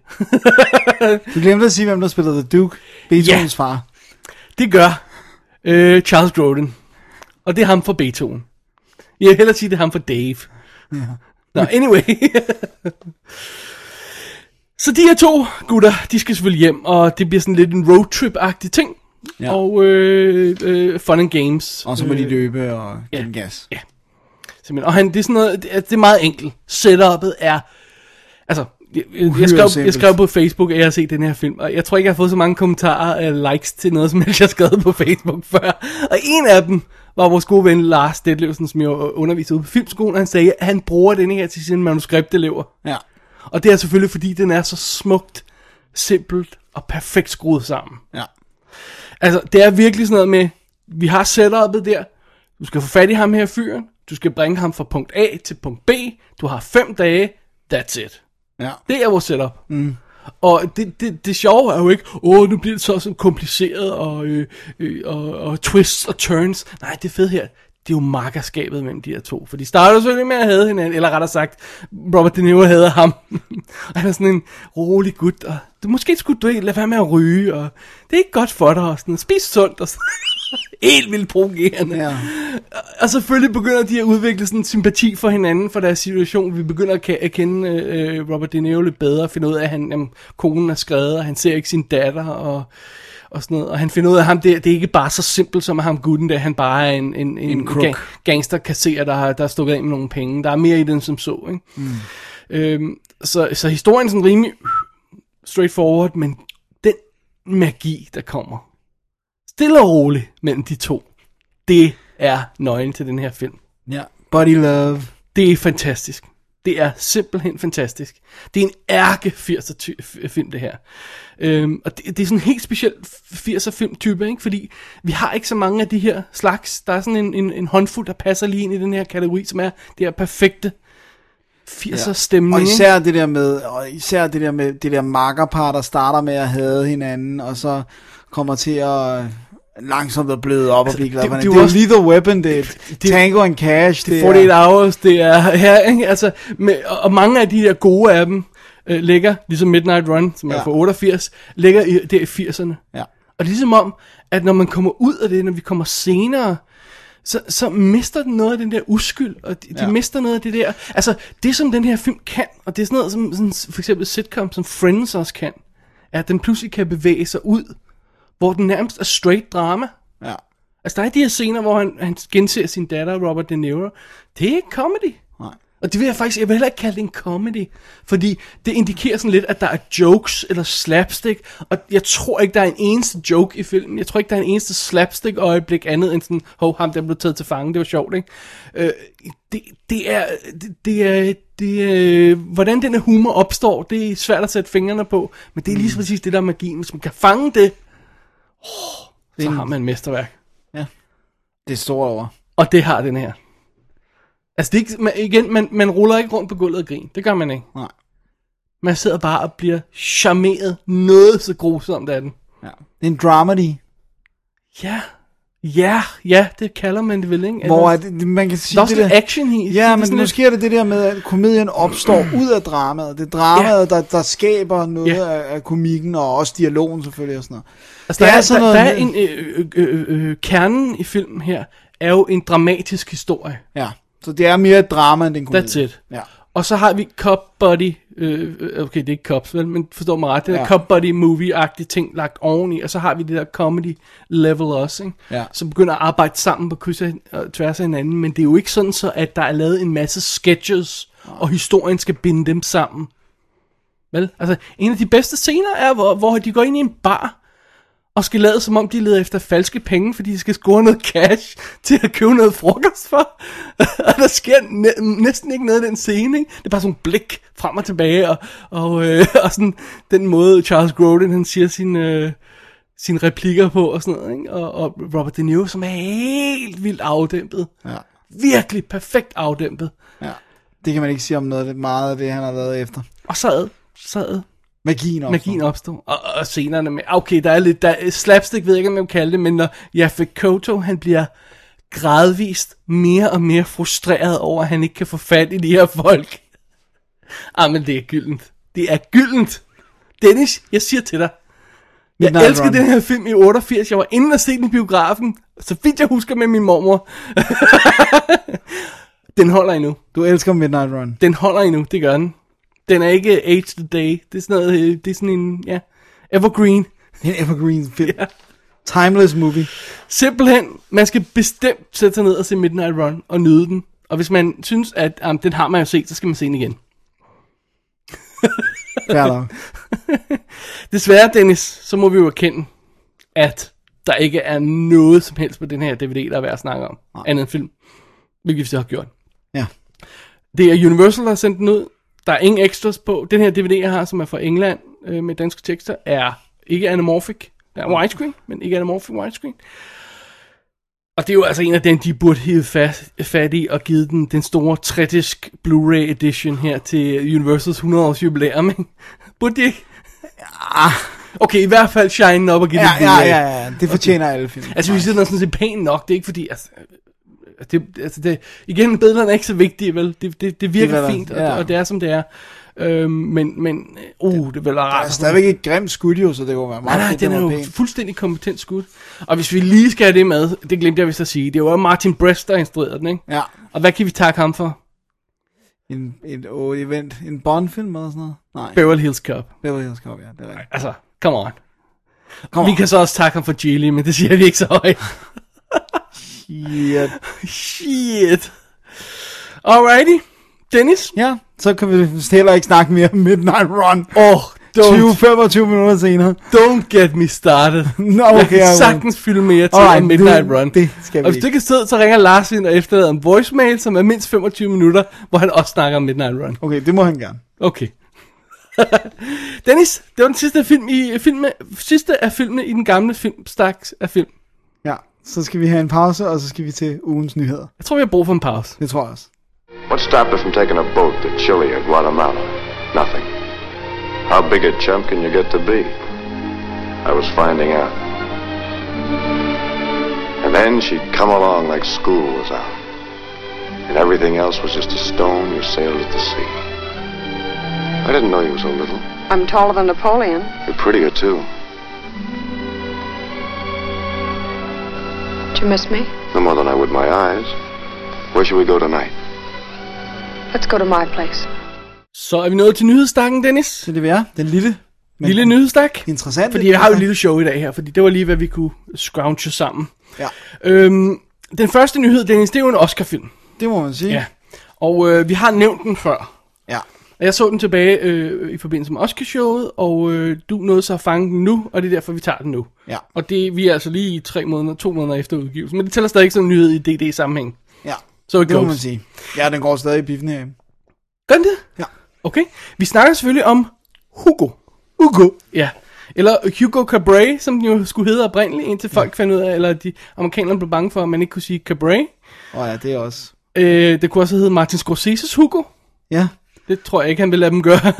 Du glemte at sige, hvem der spillede The Duke. Beethovens far. Det gør øh, Charles Grodin. Og det er ham for Beethoven. Jeg vil hellere sige, det er ham for Dave. Ja. Nå, anyway. Så de her to gutter, de skal selvfølgelig hjem, og det bliver sådan lidt en roadtrip-agtig ting. Ja. Ja. Og øh, øh, fun and games. Og så må de løbe og give ja. den gas. Simpelthen. Og han, det er sådan noget, det er, det er meget enkelt. Setup'et er, altså, jeg, jeg, Uhyre jeg, skrev, jeg simpelt. skrev på Facebook, at jeg har set den her film, og jeg tror ikke, jeg har fået så mange kommentarer og likes til noget, som jeg har skrevet på Facebook før. Og en af dem var vores gode ven Lars Detlevsen, som jo underviser ude på Filmskolen, og han sagde, at han bruger den her til sine manuskriptelever. Ja. Og det er selvfølgelig, fordi den er så smukt, simpelt og perfekt skruet sammen. Ja. Altså, det er virkelig sådan noget med, vi har setup'et der, du skal få fat i ham her fyren, du skal bringe ham fra punkt A til punkt B, du har fem dage, that's it. Ja. Det er vores setup. Mm. Og det, det, det sjove er jo ikke, åh, nu bliver det så sådan kompliceret, og, øh, øh, og, og twists og turns. Nej, det fede her, det er jo makkerskabet mellem de her to. For de starter jo selvfølgelig med at have hinanden, eller rettere sagt, Robert De Niro hader ham. og han er sådan en rolig gut, og du, måske skulle du ikke lade være med at ryge, og det er ikke godt for dig, og sådan, spis sundt, og sådan. Helt vildt provokerende. Ja. Og selvfølgelig begynder de at udvikle sådan en sympati for hinanden, for deres situation. Vi begynder at, ke- at kende øh, Robert De Niro lidt bedre, finde ud af, at han, jamen, konen er skrevet, og han ser ikke sin datter, og, og sådan noget. Og han finder ud af, at ham, det, det er ikke bare så simpelt som at ham gutten, der han bare er en, en, en, en crook. gangsterkasserer, der har der er stukket af med nogle penge. Der er mere i den som så, ikke? Mm. Øhm, så, så historien er sådan rimelig straightforward, men den magi, der kommer stille og roligt mellem de to, det er nøglen til den her film. ja. Body love. Det er fantastisk. Det er simpelthen fantastisk. Det er en ærke 80'er ty- f- film, det her. Øhm, og det, det er sådan en helt speciel 80'er film type, ikke? fordi vi har ikke så mange af de her slags. Der er sådan en, en, en håndfuld, der passer lige ind i den her kategori, som er det her perfekte 80'er ja. Altså stemning. Og ikke? især det der med, og især det der med det der makkerpar, der starter med at have hinanden, og så kommer til at øh, langsomt at bløde op altså, og blive glad det- for det hinanden. er Det, jo er jo Lethal Weapon, det er det- Tango and Cash, det, det er- 48 hours, det er her, ikke? Altså, med, og, og mange af de der gode af dem øh, ligger, ligesom Midnight Run, som ja. Ja. er fra 88, ligger i, der i 80'erne. Ja. Og det er ligesom om, at når man kommer ud af det, når vi kommer senere, så, så mister den noget af den der uskyld, og de, de Ja. mister noget af det der. Altså, det som den her film kan, og det er sådan noget som sådan, for eksempel sitcom, som Friends også kan, er, at den pludselig kan bevæge sig ud, hvor den nærmest er straight drama. Ja. Altså, der er de her scener, hvor han, han genser sin datter, Robert De Niro. Det er ikke comedy. Nej. Og det vil jeg faktisk, jeg vil heller ikke kalde det en comedy, fordi det indikerer sådan lidt, at der er jokes eller slapstick, og jeg tror ikke, der er en eneste joke i filmen, jeg tror ikke, der er en eneste slapstick øjeblik andet end sådan, hov, ham der blev taget til fange, det var sjovt, ikke? Øh, det, det er, det, det er, det er, hvordan den her humor opstår, det er svært at sætte fingrene på, men det er lige så præcis det der er magien, hvis man kan fange det, oh, så har man et mesterværk. det er stort over. Og det har den her. Altså, det er ikke, man, igen, man, man ruller ikke rundt på gulvet og grin. Det gør man ikke. Nej. Man sidder bare og bliver charmeret noget så grusomt af den. Ja. Det er en dramedy, Ja. Ja, ja, det kalder man det vel, ikke? hvor er at, man kan sige der er også det lidt action i. Ja, men sådan nu sker det det der med, at komedien opstår ud af dramaet. Det er dramaet, der, der skaber noget Ja. af, af komikken, og også dialogen selvfølgelig og sådan noget. Altså, Det der, er er, sådan der, der er en noget- øh, øh, øh, øh, kernen i filmen her, er jo en dramatisk historie. Ja, så det er mere et drama end en komedie. That's it. Ja. Og så har vi Cop Buddy, øh, øh, okay, det er ikke Cops, vel, men forstår mig ret, det er Ja. ja. Cop Buddy movie-agtige ting lagt oveni, og så har vi det der comedy level også, ikke? Ja. som begynder at arbejde sammen på kryds og- og tværs af hinanden, men det er jo ikke sådan så, at der er lavet en masse sketches, og historien skal binde dem sammen. Vel? Altså, en af de bedste scener er, hvor, hvor de går ind i en bar, og skal lade som om de leder efter falske penge, fordi de skal score noget cash til at købe noget frokost for. og der sker næ- næsten ikke noget i den scene, ikke? Det er bare sådan nogle blik frem og tilbage, og, og, øh, og sådan den måde Charles Grodin, han siger sin... Øh, sine replikker på og sådan noget, ikke? Og, og Robert De Niro, som er helt vildt afdæmpet. Ja. Virkelig perfekt afdæmpet. ja. Det kan man ikke sige om noget af det, meget af det, han har lavet efter. Og sad, sad Magien opstår. magien opstod. Og, og scenerne med, okay, der er lidt, der, slapstick ved jeg ikke, om jeg vil kalde det, men når Jaffe Koto, han bliver gradvist mere og mere frustreret over, at han ikke kan få fat i de her folk. Ah, men det er gyldent. Det er gyldent. Dennis, jeg siger til dig, jeg Midnight elskede Run. den her film i 88. Jeg var inde og se den i biografen, så vidt jeg husker med min mormor. den holder endnu. Du elsker Midnight Run. Den holder endnu, det gør den. Den er ikke Age the Day. Det er sådan, noget, øh, det er sådan en, ja, evergreen. En evergreen film. Timeless movie. Simpelthen, man skal bestemt sætte sig ned og se Midnight Run og nyde den. Og hvis man synes, at um, den har man jo set, så skal man se den igen. Fair nok. Desværre, Dennis, så må vi jo erkende, at der ikke er noget som helst på den her DVD, der er værd at snakke om. Nej. Andet end film. Hvilket vi så har gjort. Ja. Det er Universal, der har sendt den ud. Der er ingen extras på. Den her DVD, jeg har, som er fra England øh, med danske tekster, er ikke anamorphic. Der er widescreen, men ikke anamorphic widescreen. Og det er jo altså en af den, de burde hive fast, fat i og give den den store tretisk Blu-ray edition her til Universals 100 års jubilæum. ikke? burde de ikke? Okay, i hvert fald shine den op og give Ja, den ja, Blu-ray. ja, ja. Det fortjener alle film. Altså, vi sidder der sådan set pænt nok. Det er ikke fordi, altså... øh, Det, altså det, igen, billederne er ikke så vigtige, vel? Det, det, det virker Det er det der, fint, og, ja. ja. og det er, som det er. Øhm, men, men, øh, uh, det vil være Der er rart. stadigvæk et grimt studio, så det kunne være Nej, meget nej, fedt, den det er var jo pænt. fuldstændig kompetent skudt. Og hvis vi lige skal have det med, det glemte jeg vist at sige, det var Martin Brest, der instruerede den, ikke? Ja. Og hvad kan vi takke ham for? En, en, oh, event. en Bond-film eller sådan noget? Nej, Beverly Hills Cop. Beverly Hills Cop, ja, det er rigtigt. Altså, come on. Kom Vi kan så også takke ham for Geely, men det siger vi ikke så højt. Ja. Shit. Alrighty. Dennis? ja, så kan vi vist heller ikke snakke mere om Midnight Run. Åh, oh, 20-25 minutter senere. Don't get me started. Nå, jeg okay, kan jeg- sagtens fylde mere til Alright, om Midnight det- Run. det skal vi Og hvis ikke. du ikke sidder, så ringer Lars ind og efterlader en voicemail, som er mindst 25 minutter, hvor han også snakker om Midnight Run. Okay, det må han gerne. Okay. Dennis, det var den sidste, film i, film, sidste af filmene i den gamle filmstaks af film. Ja, så skal vi have en pause, og så skal vi til ugens nyheder. Jeg tror, vi har brug for en pause. Det tror jeg også. What stopped her from taking a boat to Chile or Guatemala? Nothing. How big a chump can you get to be? I was finding out. And then she'd come along like school was out. And everything else was just a stone you sailed at the sea. I didn't know you so little. I'm taller than Napoleon. You're prettier, too. Did you miss me? No more than I would my eyes. Where should we go tonight? Let's go to my place. Så er vi nået til nyhedsstakken, Dennis. Så det vil jeg. Den lille, men Lille nyhedsstak. interessante. Fordi jeg har jo et lille show i dag her, fordi det var lige, hvad vi kunne scrounge sammen. Ja. Øhm, den første nyhed, Dennis, det er jo en Oscar-film. Det må man sige. Ja. Og øh, vi har nævnt den før. ja. Og Jeg så den tilbage øh, i forbindelse med Oscarshowet, og øh, du nåede så at fange den nu, og det er derfor, vi tager den nu. Ja. Og det, vi er altså lige i tre måneder, to måneder efter udgivelsen, men det tæller stadig ikke som en nyhed i DD-sammenhæng. ja. Så er Det må det man sige. Ja, den går stadig i biffen her. Gør den det? Ja. Okay. Vi snakker selvfølgelig om Hugo. Ugo. Ja. Eller Hugo Cabray, som den jo skulle hedde oprindeligt, indtil folk fandt ud af, eller de amerikanerne blev bange for, at man ikke kunne sige Cabray. Og ja, det er også... Øh, det kunne også hedde Martin Scorsese's Hugo. Ja, Det tror jeg ikke, han vil lade dem gøre.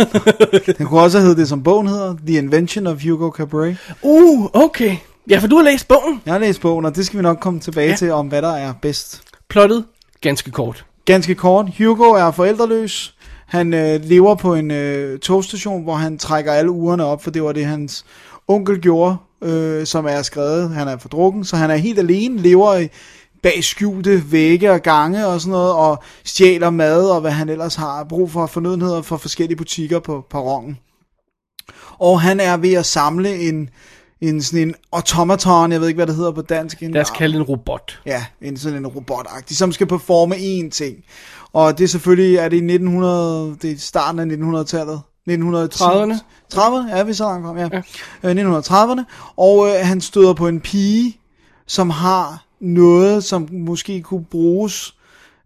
den kunne også have heddet det, som bogen hedder, The Invention of Hugo Cabret. uh, okay. Ja, for du har læst bogen. Jeg har læst bogen, og det skal vi nok komme tilbage ja. Ja. til, om hvad der er bedst. Plottet ganske kort. Ganske kort, Hugo er forældreløs. Han øh, lever på en øh, togstation, hvor han trækker alle ugerne op, for det var det, hans onkel gjorde, øh, som er skrevet. Han er fordrukken, så han er helt alene, lever i bag skjulte vægge og gange og sådan noget, og stjæler mad og hvad han ellers har af brug for fornødenheder fra forskellige butikker på perronen. Og han er ved at samle en, en sådan en automaton, jeg ved ikke, hvad det hedder på dansk. En Lad os kalde det en robot. Ja, en sådan en robotagtig, som skal performe én ting. Og det er selvfølgelig, er det i 1900, det er starten af 1900-tallet. 1930'erne. 30'erne. 30'erne, ja, vi så langt kom, ja. ja. 1930'erne. Og øh, han støder på en pige, som har noget, som måske kunne bruges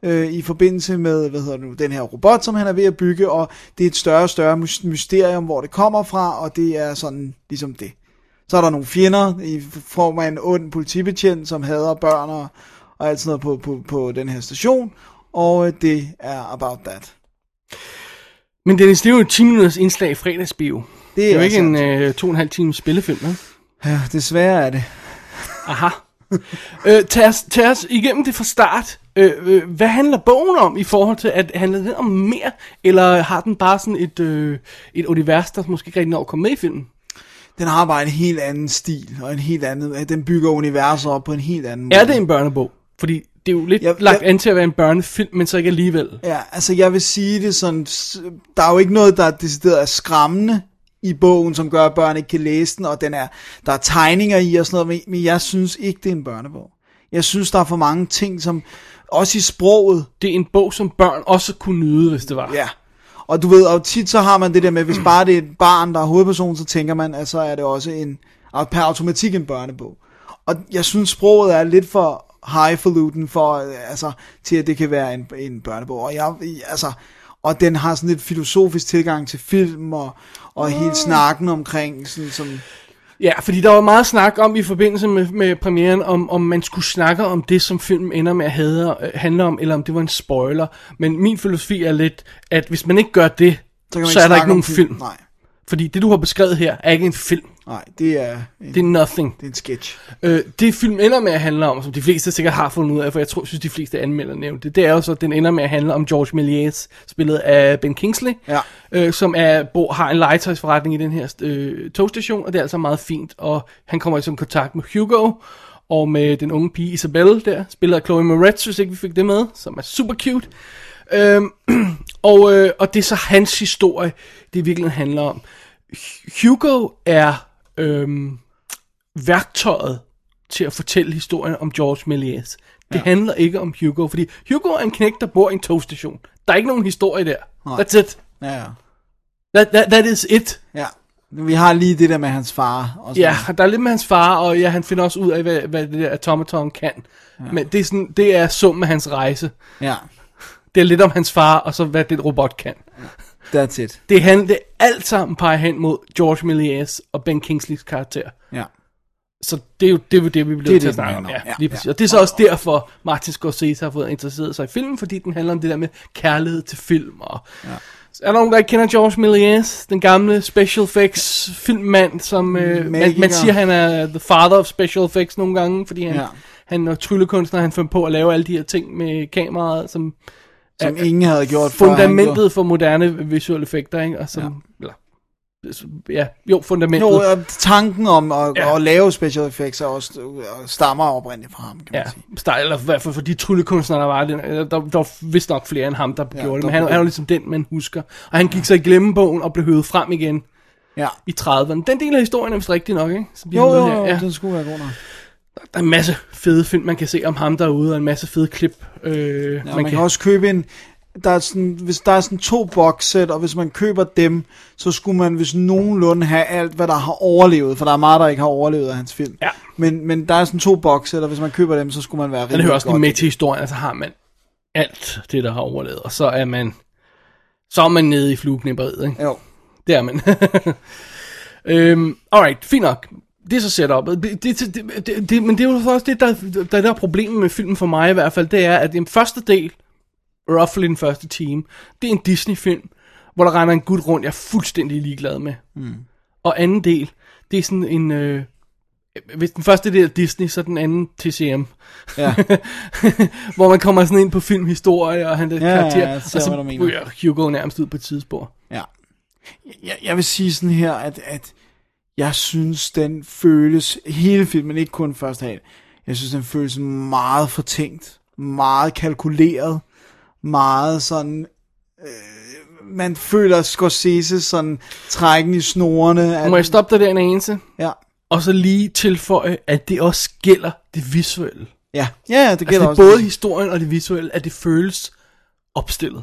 øh, i forbindelse med, hvad hedder det nu, den her robot, som han er ved at bygge, og det er et større og større mys- mysterium, hvor det kommer fra, og det er sådan ligesom det. Så er der nogle fjender i form af en ond politibetjent, som hader børn og, og alt sådan noget på, på, på den her station, og øh, det er about that. Men Dennis, det er jo et 10 minutters indslag i fredagsbio. Det er jo ikke en sandt. øh, to og en halv times spillefilm, vel? altså- Ja, desværre er det. Aha. øh, tag, os, tag os igennem det fra start. Øh, øh, hvad handler bogen om i forhold til, at handler den om mere, eller har den bare sådan et, øh, et univers, der måske ikke rigtig når at komme med i filmen? Den har bare en helt anden stil, og en helt anden, den bygger universer op på en helt anden måde. Er det en børnebog? Fordi det er jo lidt Jeg- jeg, lagt jeg- an til at være en børnefilm, men så ikke alligevel. Ja, altså jeg vil sige det sådan, s- der er jo ikke noget, der er decideret er skræmmende i bogen, som gør, at børn ikke kan læse den, og den er, der er tegninger i og sådan noget, men- men jeg synes ikke, det er en børnebog. Jeg synes, der er for mange ting, som også i sproget, Det er en bog, som børn også kunne nyde, hvis det var. ja. Og du ved, og tit så har man det der med, hvis bare det er et barn, der er hovedpersonen, så tænker man, at så er det også en, og per automatik en børnebog. Og jeg synes, sproget er lidt for highfalutin for, øh, altså, til at det kan være en, en børnebog. Og jeg, altså, og den har sådan lidt filosofisk tilgang til film og, og hele snakken omkring sådan som... Ja, fordi der var meget snak om i forbindelse med, med premieren, om, om man skulle snakke om det, som filmen ender med at have, øh, handle om, eller om det var en spoiler. Men min filosofi er lidt, at hvis man ikke gør det, så, man så er der snakke ikke om nogen film. film. Nej, Fordi det, du har beskrevet her, er ikke en film. nej, det er en, Det det... er nothing. det er en sketch. Øh, det film ender med at handle om, som de fleste sikkert har fundet ud af, for jeg tror, synes, de fleste anmelder nævnte det, det er jo så, at den ender med at handle om George Méliès, spillet af Ben Kingsley, Ja. øh, som er, bor, har en legetøjsforretning i den her øh, togstation, og det er altså meget fint, og han kommer i sådan kontakt med Hugo, og med den unge pige Isabelle der, spillet af Chloe Moretz, hvis ikke vi fik det med, som er super cute. Øhm, og, øh, og det er så hans historie, det virkelig handler om. Hu- Hugo er øhm, værktøjet til at fortælle historien om George Méliès. Det ja. handler ikke om Hugo, fordi Hugo er en knæk, der bor i en togstation. Der er ikke nogen historie der. Nej. That's it. Ja, ja. That, that, that is it. ja. Vi har lige det der med hans far. Og sådan Ja, der er lidt med hans far, og ja, han finder også ud af, hvad, hvad det der automaton kan. Ja. Men det er, sådan, det er summen af hans rejse. Ja, Det er lidt om hans far, og så hvad den robot kan. that's it. Det handler alt sammen peger hen mod George Méliès og Ben Kingsleys karakter. Ja. Så det er jo det, er jo det vi bliver det, nødt til at den snakke om. handler Ja, om. Ja, lige ja. præcis. Og det er så også derfor, Martin Scorsese har fået interesseret sig i filmen, fordi den handler om det der med kærlighed til film. Og... Ja. Er der nogen, der ikke kender George Méliès, den gamle special effects filmmand, som øh, man, Magiker. man siger, han er the father of special effects nogle gange, fordi han, ja. Ja. han er tryllekunstner, han fandt på at lave alle de her ting med kameraet, som Som ingen havde gjort før, han gjorde. fundamentet for moderne visuelle effekter, ikke? Og som, ja. Eller, ja, jo, fundamentet. Jo, øh, tanken om at, Ja. ja. at lave special effects er også øh, stammer oprindeligt fra ham, kan man Ja, ja. sige. style, eller i hvert fald for de tryllekunstnere, der var, den, der, der var vist nok flere end ham, der ja, Ja, gjorde det, der men han, blev- han var ligesom den, man husker. Og han gik så i glemmebogen og blev høvet frem igen Ja. i 30'erne. Den del af historien er vist rigtig nok, ikke? Som de Jo, har med jo, her. jo, Ja. den skulle være god nok. Der er en masse fede film, man kan se om ham derude, og en masse fede klip. Øh, Ja, man, man kan, kan også købe en... Der er sådan, hvis der er sådan to boxsæt, og hvis man køber dem, så skulle man hvis nogenlunde have alt, hvad der har overlevet, for der er meget, der ikke har overlevet af hans film. Ja. Men, men der er sådan to boxsæt, og hvis man køber dem, så skulle man være Men rigtig det hører også lige godt. med til historien, og så har man alt det, der har overlevet, og så er man, så er man nede i flueknipperiet, ikke? Jo, Det er man. øhm, alright, fint nok. Det er så setup'et. Det, det, det, det, det, men det er jo så også det, der, der, der er problemet med filmen for mig i hvert fald, det er, at den første del, roughly den første time, det er en Disney-film, hvor der render en gut rundt, jeg er fuldstændig ligeglad med. Mm. Og anden del, det er sådan en... Øh, hvis den første del er Disney, så er den anden TCM. ja. Hvor man kommer sådan ind på filmhistorie, og han der ja, ja, karakter, jeg og ser, hvad du så mener. ryger Hugo nærmest ud på et tidsspor. Ja. Jeg, jeg vil sige sådan her, at, at jeg synes, den føles, hele filmen, ikke kun første halv, jeg synes, den føles meget fortænkt, meget kalkuleret, meget sådan, øh, man føler Scorsese sådan trækken i snorene. At, Må jeg stoppe dig der en anelse? ja. Og så lige tilføje, at det også gælder det visuelle. Ja. ja, ja, det Altså gælder det er også. både historien og det visuelle, at det føles opstillet.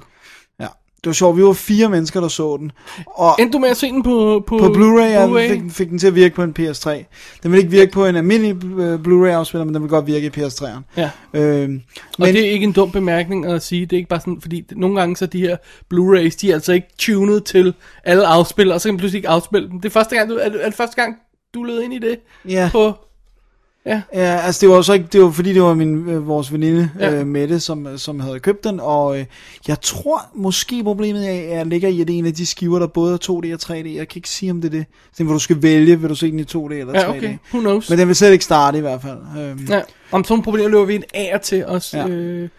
Ja. Det var sjovt, vi var fire mennesker, der så den. Og, Endte du med at se den på, på, på Blu-ray, Blu-ray? jeg fik, den- fik den til at virke på en PS3. Den vil ikke virke på en almindelig øh, Blu-ray-afspiller, men den vil godt virke i PS3'eren. Ja. Øhm, Og men- det er ikke en dum bemærkning at sige, det er ikke bare sådan, fordi nogle gange så de her Blu-rays, de er altså ikke tunet til alle afspillere, og så kan man pludselig ikke afspille dem. Det er første gang, du, er, det- er det første gang, du lød ind i det Ja. på Ja, altså det var jo så ikke, det var fordi det var min, øh, vores veninde Ja. ja. øh, Mette, som, øh, som havde købt den, og øh, jeg tror måske problemet er, er ligger i, at det er en af de skiver, der både er 2D og 3D, jeg kan ikke sige om det er det, sådan, hvor du skal vælge, vil du se den i 2D eller 3D. Ja, okay. Who knows? Men den vil slet ikke starte i hvert fald. Øhm, ja. Ja, om sådan nogle problemer løber vi en ære til os. Ja. Ja. Øh,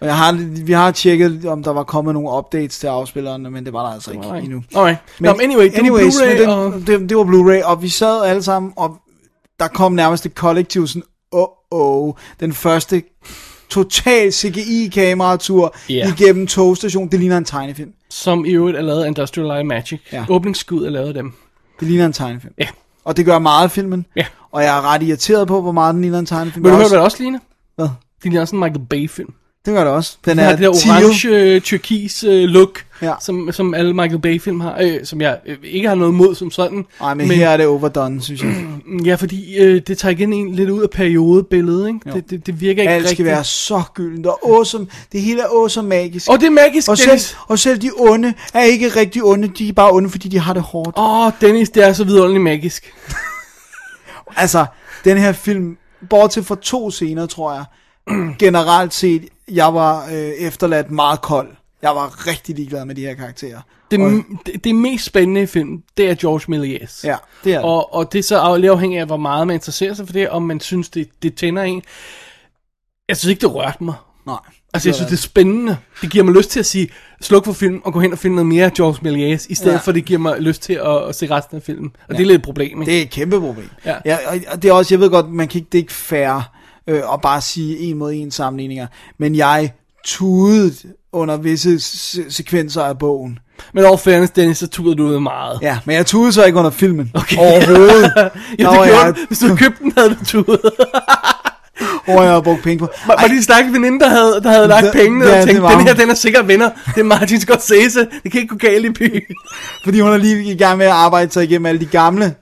og jeg har, vi har tjekket, om der var kommet nogle updates til afspilleren, men det var der altså ikke nej. endnu. Alright. Men, Nå, men anyway, det anyways, er Blu-ray, men og... den, det, det var Blu-ray, og vi sad alle sammen, og der kom nærmest et kollektiv sådan, åh, oh, oh, den første total CGI-kameratur Ja. yeah. igennem togstationen. Det ligner en tegnefilm. Som i øvrigt er lavet af Industrial Light and Magic. Ja. Ja. Åbningsskud er lavet af dem. Det ligner en tegnefilm. Ja. Og det gør meget af filmen. Ja. Og jeg er ret irriteret på, hvor meget den ligner en tegnefilm. Vil Jeg du høre, også- hvad det også ligner? Hvad? Det ligner også en Michael Bay-film. Det gør det også. Den Den er har det der teal. orange, øh, tyrkis øh, look, Ja. ja. som, som alle Michael Bay-film har, øh, som jeg øh, ikke har noget mod som sådan. Ej, men, men her er det overdone, synes jeg. Ja, fordi øh, det tager igen en lidt ud af periodebilledet, ikke? Det, det, det virker ikke Alt rigtigt. skal være så gyldent og awesome. Det hele er awesome magisk. Og det er magisk, og, selv, Dennis. og selv de onde er ikke rigtig onde. De er bare onde, fordi de har det hårdt. Og, Åh, oh, Dennis, det er så vidunderligt magisk. altså, den her film, bortset fra to scener, tror jeg, generelt set, jeg var øh, efterladt meget kold. Jeg var rigtig ligeglad med de her karakterer. Det, Og- det, det mest spændende i filmen, det er George Méliès. Ja, det er det. Og, og det er så af- lidt afhængigt af, hvor meget man interesserer sig for det, om man synes, det, det tænder en. Jeg synes ikke, det rørte mig. Nej. Altså, jeg synes, det er spændende. Det giver mig lyst til at sige, sluk for film og gå hen og finde noget mere George Méliès, i stedet Ja. ja. for, det giver mig lyst til at, at se resten af filmen. Og ja. det er lidt et problem, ikke? Det er et kæmpe problem. Ja. Ja. Ja, og- og det er også, jeg ved godt, man kan ikke, det er ikke fair øh, at bare sige en mod en sammenligninger, men jeg tudede under visse se- sekvenser af bogen. Men over fairness, Dennis, så tuder du ud meget. Ja, men jeg tudede så ikke under filmen okay. overhovedet. Ja, Der det var gjorde jeg- du. Hvis du havde købt den, havde du tudet. Hvor jeg har brugt penge på. Var, var det en stakkels veninde, der havde, der havde lagt Ja, pengene ja, og det tænkte, var den hun." her, den er sikkert vinder. Det er Martin Scorsese. Det kan ikke gå galt i byen. Fordi hun er lige i gang med at arbejde sig igennem alle de gamle,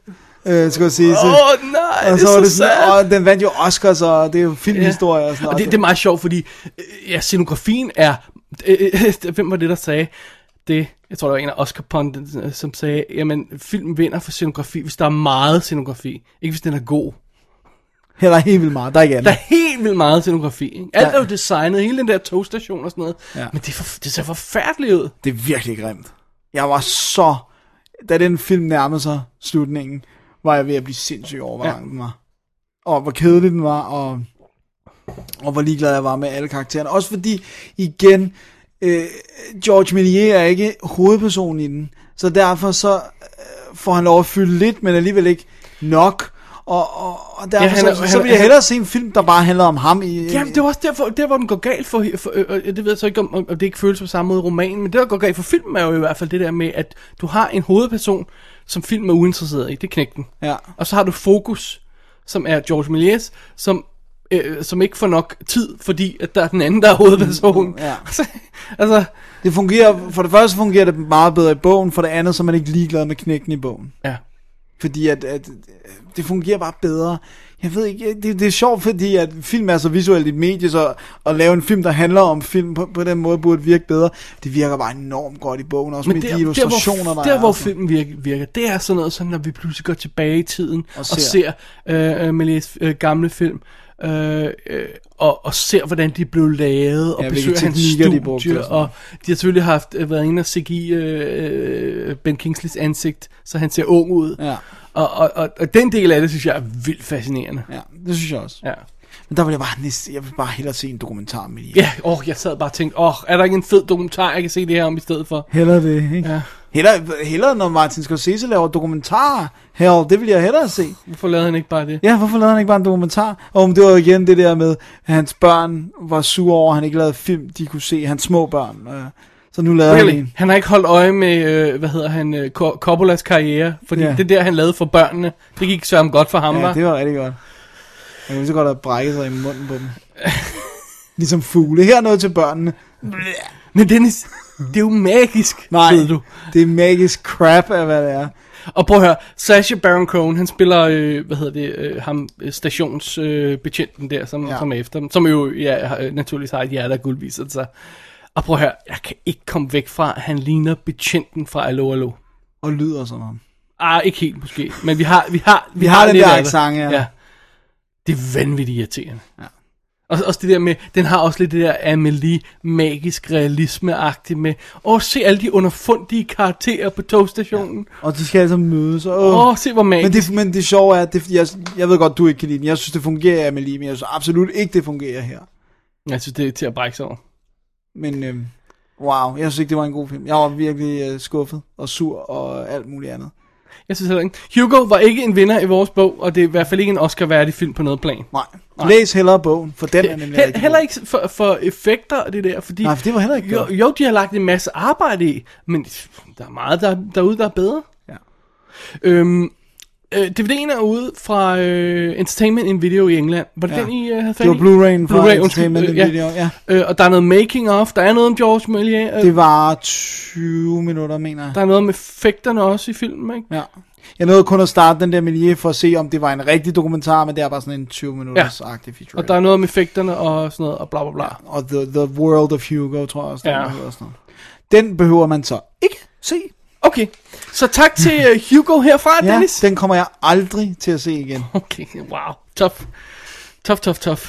øh, skal jeg sige. Åh, Så. oh, nej, Og det så er var så, det så sad. sådan, og den vandt jo Oscars, og det er jo filmhistorie og sådan Og noget. det, det er meget sjovt, fordi øh, ja, scenografien er... Øh, øh, hvem var det, der sagde det? Jeg tror, det var en af Oscar Pundit, som sagde, jamen, filmen vinder for scenografi, hvis der er meget scenografi. Ikke hvis den er god. Heller helt vildt meget, der er ikke Der andet. er helt vildt meget scenografi. Ikke? Alt Ja. er jo designet, hele den der togstation og sådan noget. Ja. Ja. Men det, er for, det ser forfærdeligt ud. Det er virkelig grimt. Jeg var så... Da den film nærmede sig slutningen, var jeg ved at blive sindssyg over, hvor Ja. lang den var. Og hvor kedelig den var, og, og hvor ligeglad jeg var med alle karaktererne. Også fordi, igen, øh, George Méliès er ikke hovedpersonen i den. Så derfor så øh, får han lov at fylde lidt, men alligevel ikke nok. Og, og, og derfor ja, Ja, han han, er- så, han- så vil jeg han- hellere se en film, der bare handler om ham. I, Jamen, det var også derfor, der, hvor den går galt for, for øh, øh, det ved jeg så ikke, om, om det ikke føles på samme måde i romanen, men det, der går galt for filmen, er jo i hvert fald det der med, at du har en hovedperson, som filmen er uinteresseret i, det er knægten. Ja. Og så har du Fokus, som er George Méliès, som, øh, som ikke får nok tid, fordi at der er den anden, der er hovedpersonen. Mm, ja. altså, altså, Det fungerer, for det første fungerer det meget bedre i bogen, for det andet så er man ikke ligeglad med knækken i bogen. ja. Fordi at, at det fungerer bare bedre. Jeg ved ikke, det, det er sjovt, fordi at film er så visuelt et medie, så at lave en film, der handler om film på, på den måde, burde virke bedre. Det virker bare enormt godt i bogen, også Men med der, de illustrationer, der, hvor, der, der, er. hvor og sådan. filmen virker, virker, det er sådan noget, sådan, når vi pludselig går tilbage i tiden og, og ser. ser øh, øh, Melies øh, gamle film, øh, øh, og, og ser, hvordan de blev lavet, og Ja, ja, hvilke besøger hans teknikker studie, de brugte og de sådan noget. og de har selvfølgelig haft, øh, været inde og CGI øh, øh, Ben Kingsleys ansigt, så han ser ung ud. Ja. Og, og, og, og den del af det, synes jeg er vildt fascinerende. Ja, det synes jeg også. Ja, Men der vil jeg bare, næste, jeg vil bare hellere se en dokumentar med det. ja åh, jeg sad bare og tænkte, åh, er der ikke en fed dokumentar, jeg kan se det her om i stedet for? Hellere det, ikke? Ja. Hellere, hellere, når Martin Scorsese laver dokumentarer. Hell, det vil jeg hellere se. Hvorfor lavede han ikke bare det? Ja, hvorfor lavede han ikke bare en dokumentar? Og om det var igen det der med, at hans børn var sure over, at han ikke lavede film, de kunne se, hans små børn. Øh, så nu lavede han Really? en. Han har ikke holdt øje med, øh, hvad hedder han, øh, Co- Coppolas karriere, fordi Ja. yeah. det der, han lavede for børnene, det gik sørme godt for ham, Ja, ja, det var rigtig godt. Jeg kunne så godt have brækket sig i munden på dem. ligesom fugle. Her er noget til børnene. Men Dennis, det er jo magisk, Nej, ved du. det er magisk crap af, hvad det er. Og prøv at høre, Sacha Baron Cohen, han spiller, øh, hvad hedder det, øh, ham stationsbetjenten øh, betjenten der, som, Ja. ja. som er efter dem, som jo ja, har- øh, naturligvis har et hjerte af guld, viser det sig. Og prøv at høre, jeg kan ikke komme væk fra, at han ligner betjenten fra Allo Allo. Og lyder som ham. Ah, ikke helt måske, men vi har, vi har, vi har den lidt der af det. accent, ja. ja. Det er vanvittigt irriterende. Ja. Og også det der med, den har også lidt det der Amelie magisk realisme med, åh, oh, se alle de underfundige karakterer på togstationen. Åh, Og de skal altså mødes. Og, ja. oh, se hvor magisk. Men det, men det sjove er, at det, jeg, jeg ved godt, du ikke kan lide den. Jeg synes, det fungerer, Amelie, men jeg synes absolut ikke, det fungerer her. Jeg synes, det er til at brække sig over. Men øhm, wow, jeg synes ikke, det var en god film. Jeg var virkelig øh, skuffet og sur og alt muligt andet. Jeg synes heller ikke. Hugo var ikke en vinder i vores bog, og det er i hvert fald ikke en Oscar-værdig film på noget plan. Nej. Læs hellere bogen, for den er nemlig He- rigtig heller god. ikke for, for effekter og det der, fordi... Nej, for det var heller ikke jo, godt. jo, de har lagt en masse arbejde i, men der er meget der, derude, der er bedre. Ja. Øhm, øh, DVD'en er ude fra øh, Entertainment in Video i England. Var det Ja. den, I øh, havde fat Det var i? Blu-ray'en fra Blu-ray, undskyld, Entertainment øh, øh, ja. Video. Ja. Øh, og der er noget making of, der er noget om George Méliès, øh, Det var 20 minutter, mener jeg. der er noget om effekterne også i filmen, ikke? Ja. Jeg nåede kun at starte den der miljø for at se, om det var en rigtig dokumentar, men det er bare sådan en 20 minutters ja. agtig feature. Og der er noget om effekterne og sådan noget, og bla bla bla. og the, the World of Hugo, tror jeg også, den, Ja. ja. hedder sådan noget. den behøver man så ikke se. Okay, så tak til øh, Hugo herfra, Ja, Dennis. den kommer jeg aldrig til at se igen. Okay, wow, tough. Tough, tough, tough.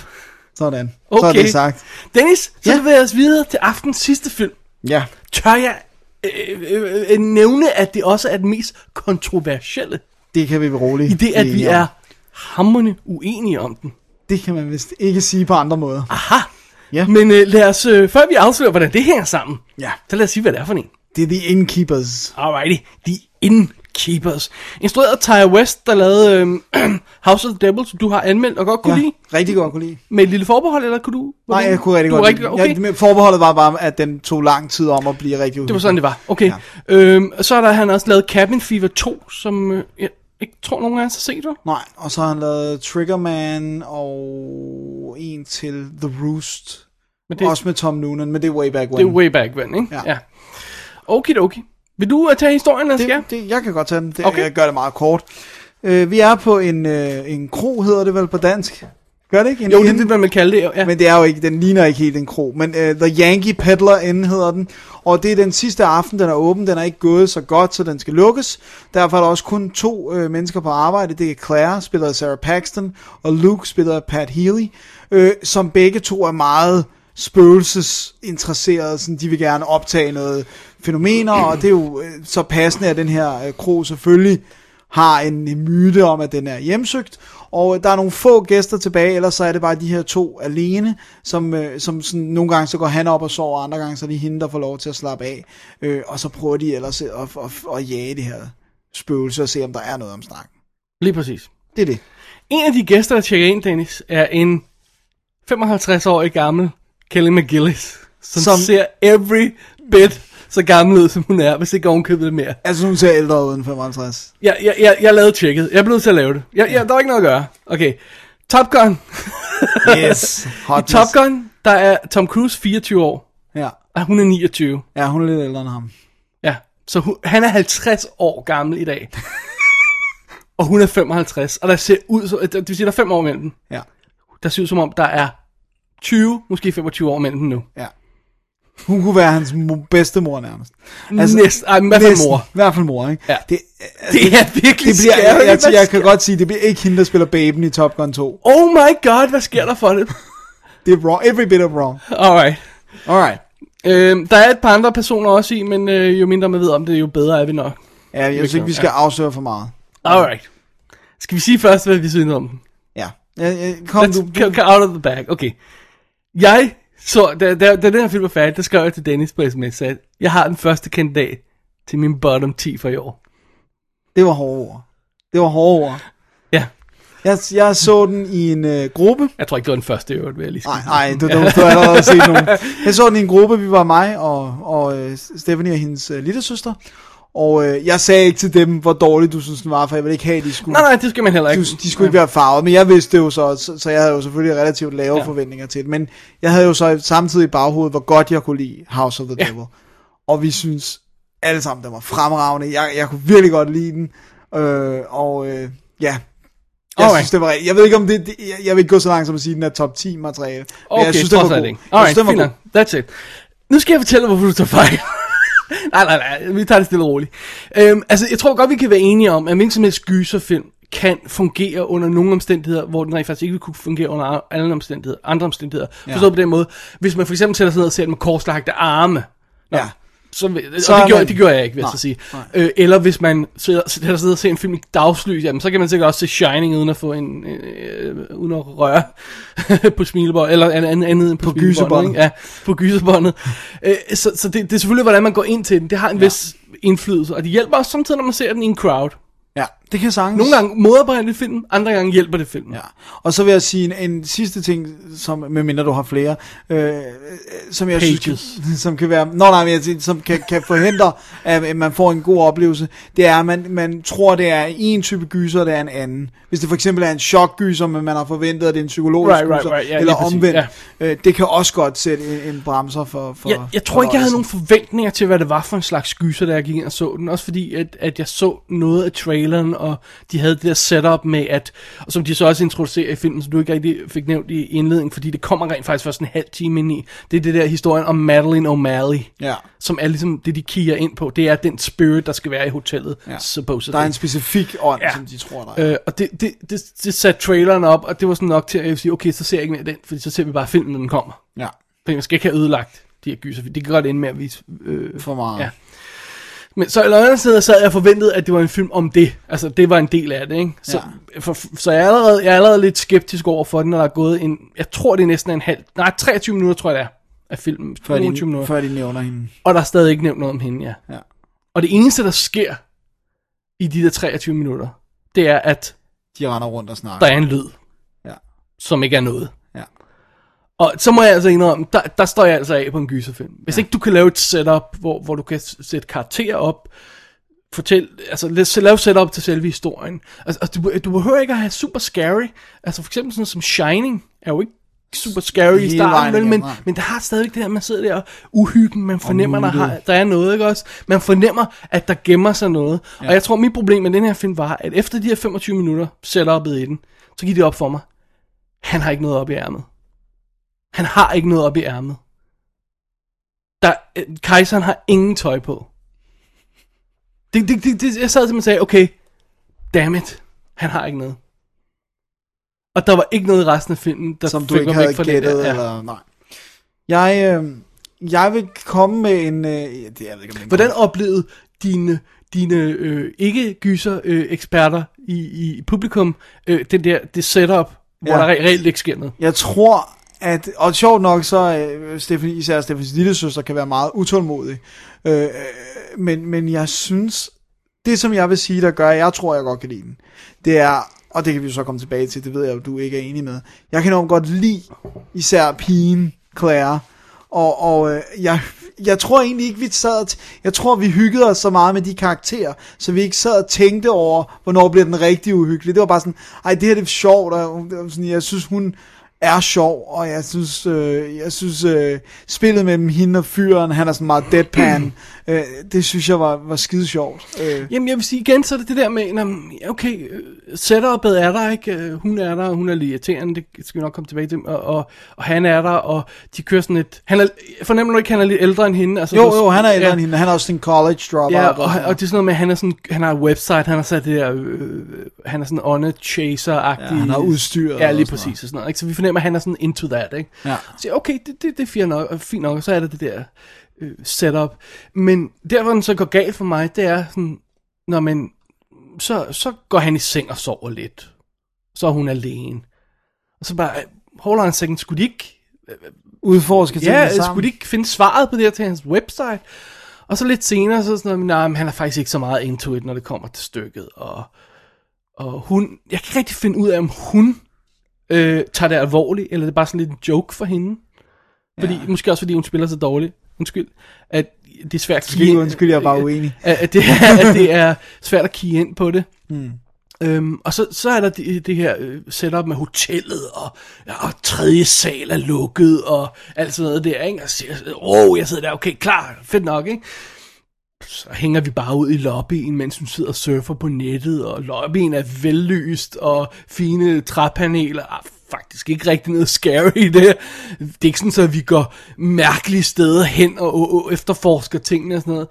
Sådan. Så er Okay. det sagt. Dennis, så Ja. ja. vil jeg os videre til aftens sidste film. Ja. Tør jeg øh, øh, øh, nævne, at det også er den mest kontroversielle, Det kan vi være roligt. i det, at vi enige om. er hammerne uenige om den. Det kan man vist ikke sige på andre måder. Aha! Ja. Men øh, lad os, øh, før vi afslører, hvordan det hænger sammen, Ja. så lad os sige, hvad det er for en. Det er The Innkeepers. Alrighty, The Innkeepers. Instrueret af Tyre West, der lavede øh, House of the Devil, som du har anmeldt og godt kunne ja. lide. rigtig godt kunne lide. Med et lille forbehold, eller kunne du? Nej, jeg kunne rigtig du godt var lide. rigtig- Okay. Ja, men forbeholdet var bare, at den tog lang tid om at blive rigtig Det var sådan, det var. Okay. Ja. Ja. Øhm, og så har der, han også lavet Cabin Fever 2, som øh, jeg ikke tror, nogen af os har set. Eller? Nej, og så har han lavet Triggerman og en til The Roost. Men det, Det... Også med Tom Noonan, men det er way back when. det er way back when, ikke? Ja. Okay, okay. Vil du uh, tage historien, eller skal jeg? det, det, jeg kan godt tage den. Det, Okay. okay. Jeg gør det meget kort. Øh, vi er på en, øh, en kro, hedder det vel på dansk? Gør det ikke? En Jo, det er inn? det, man vil kalde det. Ja. Men, Men det er jo ikke, den ligner ikke helt en kro. Men uh, The Yankee Peddler Inn hedder den. Og det er den sidste aften, den er åben. Den er ikke gået så godt, så den skal lukkes. Derfor er der også kun to uh, mennesker på arbejde. Det er Claire, spillet af Sarah Paxton, og Luke, spillet af Pat Healy, øh, som begge to er meget spøgelsesinteresserede. Sådan, de vil gerne optage noget fænomener, og det er jo øh, så passende, at den her øh, kro selvfølgelig har en, en myte om, at den er hjemsøgt, og øh, der er nogle få gæster tilbage, ellers så er det bare de her to alene, som, øh, som sådan, nogle gange så går han op og sover, og andre gange så er det hende, der får lov til at slappe af, øh, og så prøver de ellers at, at, at, at jage det her spøgelse og se, om der er noget om snakken. Lige præcis. Det er det. En af de gæster, der tjekker ind, Dennis, er en 55-årig gammel Kelly McGillis, som, som Som- ser every bit så gammel ud, som hun er, hvis ikke hun købet det mere. Altså, hun ser ældre ud end 55. Jeg, jeg, jeg, jeg lavede tjekket. Jeg blev nødt til at lave det. Jeg, jeg, der var ikke noget at gøre. Okay. Top Gun. Yes. I Top Gun, der er Tom Cruise 24 år, Ja. og hun er 29. ja, hun er lidt ældre end ham. Ja. Så hun, han er 50 år gammel i dag. og hun er 55. Og der ser ud, så, det vil sige, der er 5 år mellem dem. Ja. Der ser ud som om, der er 20, måske 25 år mellem dem nu. ja. Hun kunne være hans mo- bedstemor nærmest. Altså, Næst, ej, men i hvert fald Næsten. mor. I hvert fald mor, ikke? Ja. Det, Det er virkelig det bliver, scary. jeg, jeg, Hvad jeg sker- kan godt sige, det bliver ikke hende, der spiller baben i Top Gun 2. Oh my god, hvad sker der for det? Det er wrong. Every bit of wrong. Alright. Alright. Øhm, der er et par andre personer også i, men øh, jo mindre man ved om det, jo bedre er vi nok. Ja, jeg synes ikke, vi skal afsløre for meget. Alright. Skal vi sige først, hvad vi synes om den? Ja. ja, ja kom, Let's du, go, go out of the bag. Okay. Jeg så, da, da, da den her film var færdig, der skrev jeg til Dennis på sms, at jeg har den første kandidat til min bottom 10 for i år. det var hårde ord. Det var hårde ord. Ja. Jeg, jeg så den i en øh, gruppe. Jeg tror ikke, det var den første i øvrigt, vil jeg lige sige. Nej, nej, du, du, du har allerede set nogen. Jeg så den i en gruppe, vi var mig og, og øh, Stephanie og hendes øh, lille søster. Og øh, jeg sagde ikke til dem, hvor dårligt du synes, den var, for jeg ville ikke have, at de skulle... Nej, nej, det skal man heller ikke. de, de skulle ikke være farvet, men jeg vidste det jo så, så, så jeg havde jo selvfølgelig relativt lave Ja. ja. forventninger til det, men jeg havde jo så samtidig i baghovedet, hvor godt jeg kunne lide House of the Devil, og vi synes alle sammen, den var fremragende, jeg, jeg kunne virkelig godt lide den, øh, og øh, ja, jeg Alright. synes, det var rigtig- Jeg ved ikke, om det, det jeg, jeg vil ikke gå så langt som at sige, at den er top 10 materiale, men Okay, jeg synes, det trods var alt god. ikke. Jeg Alright, synes, den var fint god. nok. That's it. Nu skal jeg fortælle, hvorfor du tager fejl. nej, nej, nej, vi tager det stille og roligt. Øhm, altså, jeg tror godt, vi kan være enige om, at hvilken som helst gyserfilm kan fungere under nogle omstændigheder, hvor den rent faktisk ikke vil kunne fungere under andre omstændigheder. Andre omstændigheder. Ja. Forstået på den måde, hvis man for eksempel tæller sig ned og ser den med korslagte arme, Ja. så, vil- Så og er det, gjorde, man- det gjorde jeg ikke, vil jeg Nej, så sige. Øh, eller hvis man sidder, sætter sig ned og ser en film i dagslys, jamen, så kan man sikkert også se Shining uden at få en, øh, øh, uden at røre på smilebånd, eller andet, andet, andet end på, på gyserbåndet. Ja, på gyserbåndet. Øh, så så det, det er selvfølgelig, hvordan man går ind til den. Det har en ja. vis indflydelse, og det hjælper også samtidig, når man ser den i en crowd. Ja, det kan sagtens. Nogle gange modarbejder det filmen, andre gange hjælper det filmen. Ja. Og så vil jeg sige en, en sidste ting, som, medmindre du har flere, øh, som jeg synes, Pages. som kan være, nå, nej, men jeg siger, som kan, kan forhindre, at, at man får en god oplevelse, det er, at man, man tror, det er en type gyser, og det er en anden. Hvis det for eksempel er en chokgyser, men man har forventet, at det er en psykologisk Right, right, gyser, right, ja, eller lige præcis, omvendt, ja. øh, det kan også godt sætte en, en bremser for, for Jeg, jeg tror ikke, jeg havde fornøjelsen. nogen forventninger til, hvad det var for en slags gyser, da jeg gik ind og så den. Også fordi, at, at jeg så noget af traileren, og de havde det der setup med, at, og som de så også introducerer i filmen, som du ikke rigtig fik nævnt i indledningen, fordi det kommer rent faktisk først en halv time ind i. Det er det der historien om Madeline O'Malley, Ja. som er ligesom det, de kigger ind på. Det er den spirit, der skal være i hotellet, Ja. ja. supposedly. Der er en specifik ånd, ja. Ja. som de tror, der er. Øh, og det, det, det, det satte traileren op, og det var sådan nok til at jeg sige, okay, så ser jeg ikke mere den, fordi så ser vi bare filmen, når den kommer. Ja, Fordi man skal ikke have ødelagt de her gyser, for det kan godt ende med at vise... Øh, for meget. Ja. men så eller andet sted sad jeg og forventede, at det var en film om det. Altså, det var en del af det, ikke? Så, ja. for, så jeg, er allerede, jeg er allerede lidt skeptisk over for den, når der er gået en... Jeg tror, det er næsten en halv... Nej, 23 minutter, tror jeg, det er af filmen. Før 22 de, minutter. før de nævner hende. Og der er stadig ikke nævnt noget om hende, ja. Ja. Og det eneste, der sker i de der 23 minutter, det er, at De render rundt og snakker. der er en lyd, Ja. som ikke er noget. Ja. Og så må jeg altså indrømme, der, der står jeg altså af på en gyserfilm. Hvis ja. ikke du kan lave et setup, hvor, hvor du kan s- sætte karakterer op, fortæl, altså lad- lave setup til selve historien. Altså, altså du, du behøver ikke at have super scary. Altså for eksempel sådan som Shining er jo ikke super scary i Hele vejen starten, vel, igennem, men, nej. men der har stadigvæk det der, man sidder der og uhyggen, man fornemmer, der, mutet. har, der er noget, ikke også? Man fornemmer, at der gemmer sig noget. Ja. Og jeg tror, mit problem med den her film var, at efter de her 25 minutter setup'et i den, så gik det op for mig. Han har ikke noget op i ærmet. Han har ikke noget op i ærmet. Der, øh, kejseren har ingen tøj på. Det, det, det, det, jeg sad simpelthen og sagde, okay, damn it, han har ikke noget. Og der var ikke noget i resten af filmen, der som du fik ikke mig havde væk fra gættet, det der. Ja. eller nej. Jeg, øh, jeg vil komme med en... Øh, det, jeg ved ikke, om det er en- Hvordan oplevede dine, dine øh, ikke-gyser-eksperter i, i publikum øh, den der, det setup, hvor Ja. ja. der re- reelt ikke sker noget? Jeg tror, at... Og sjovt nok, så øh, Stephanie, især Stephanies lille søster kan være meget utålmodig. Øh, øh, men, men jeg synes... Det, som jeg vil sige, der gør, at jeg tror, jeg godt kan lide den, det er... Og det kan vi jo så komme tilbage til, det ved jeg jo, du ikke er enig med. Jeg kan nok godt lide især pigen Claire. Og, og øh, jeg, jeg tror egentlig ikke, vi sad... og t- Jeg tror, vi hyggede os så meget med de karakterer, så vi ikke sad og tænkte over, hvornår bliver den rigtig uhyggelig. Det var bare sådan, ej, det her det er sjovt, og hun- det var sådan, jeg synes, hun er sjov, og jeg synes, øh, jeg synes øh, spillet mellem hende og fyren, han er sådan meget deadpan, øh, det synes jeg var, var skide sjovt. Øh, Jamen, jeg vil sige igen, så er det det der med, nå, men, ja, okay, øh, setup'et er der ikke, øh, hun er der, og hun er lige irriterende, det skal vi nok komme tilbage til, og, og, og han er der, og de kører sådan et, han er, fornemmer du ikke, han er lidt ældre end hende? Altså, jo, så- jo, han er ældre ja. end hende, han er også sådan en college dropout. Ja, og, og det er sådan noget med, at han, er sådan, han har et website, han har sat det der, øh, han er sådan honor chaser-agtig. Ja, han har udstyr Ja, og lige sådan præcis. Og sådan noget, ikke? Så vi fornemmer, at han er sådan into that, ikke? Ja. Så jeg, okay, det, det, det er fint nok, og fint nok, og så er der det der øh, setup. Men der, hvor den så går galt for mig, det er sådan, når man, så, så går han i seng og sover lidt. Så er hun alene. Og så bare, hold on a second, skulle de ikke Udforsker tingene Ja, sammen. skulle de ikke finde svaret på det her til hans website? Og så lidt senere, så er sådan noget, nej, men han er faktisk ikke så meget into it, når det kommer til stykket. Og, og hun, jeg kan ikke rigtig finde ud af, om hun øh, tager det alvorligt, eller det er bare sådan lidt en joke for hende. Fordi, ja. Måske også fordi hun spiller så dårligt. Undskyld. At det er svært at Skal ikke undskylde, jeg er bare øh, uenig. at, at, det, er, at det er svært at kigge ind på det. Mm. Øhm, og så, så er der det, det her øh, setup med hotellet, og, ja, og tredje sal er lukket, og alt sådan noget der, ikke? Og så, åh, oh, jeg sidder der, okay, klar, fedt nok, ikke? Så hænger vi bare ud i lobbyen, mens hun sidder og surfer på nettet, og lobbyen er vellyst, og fine træpaneler, ah, faktisk ikke rigtig noget scary i det. her. Det er ikke sådan, at vi går mærkelige steder hen og, og, og efterforsker tingene og sådan noget.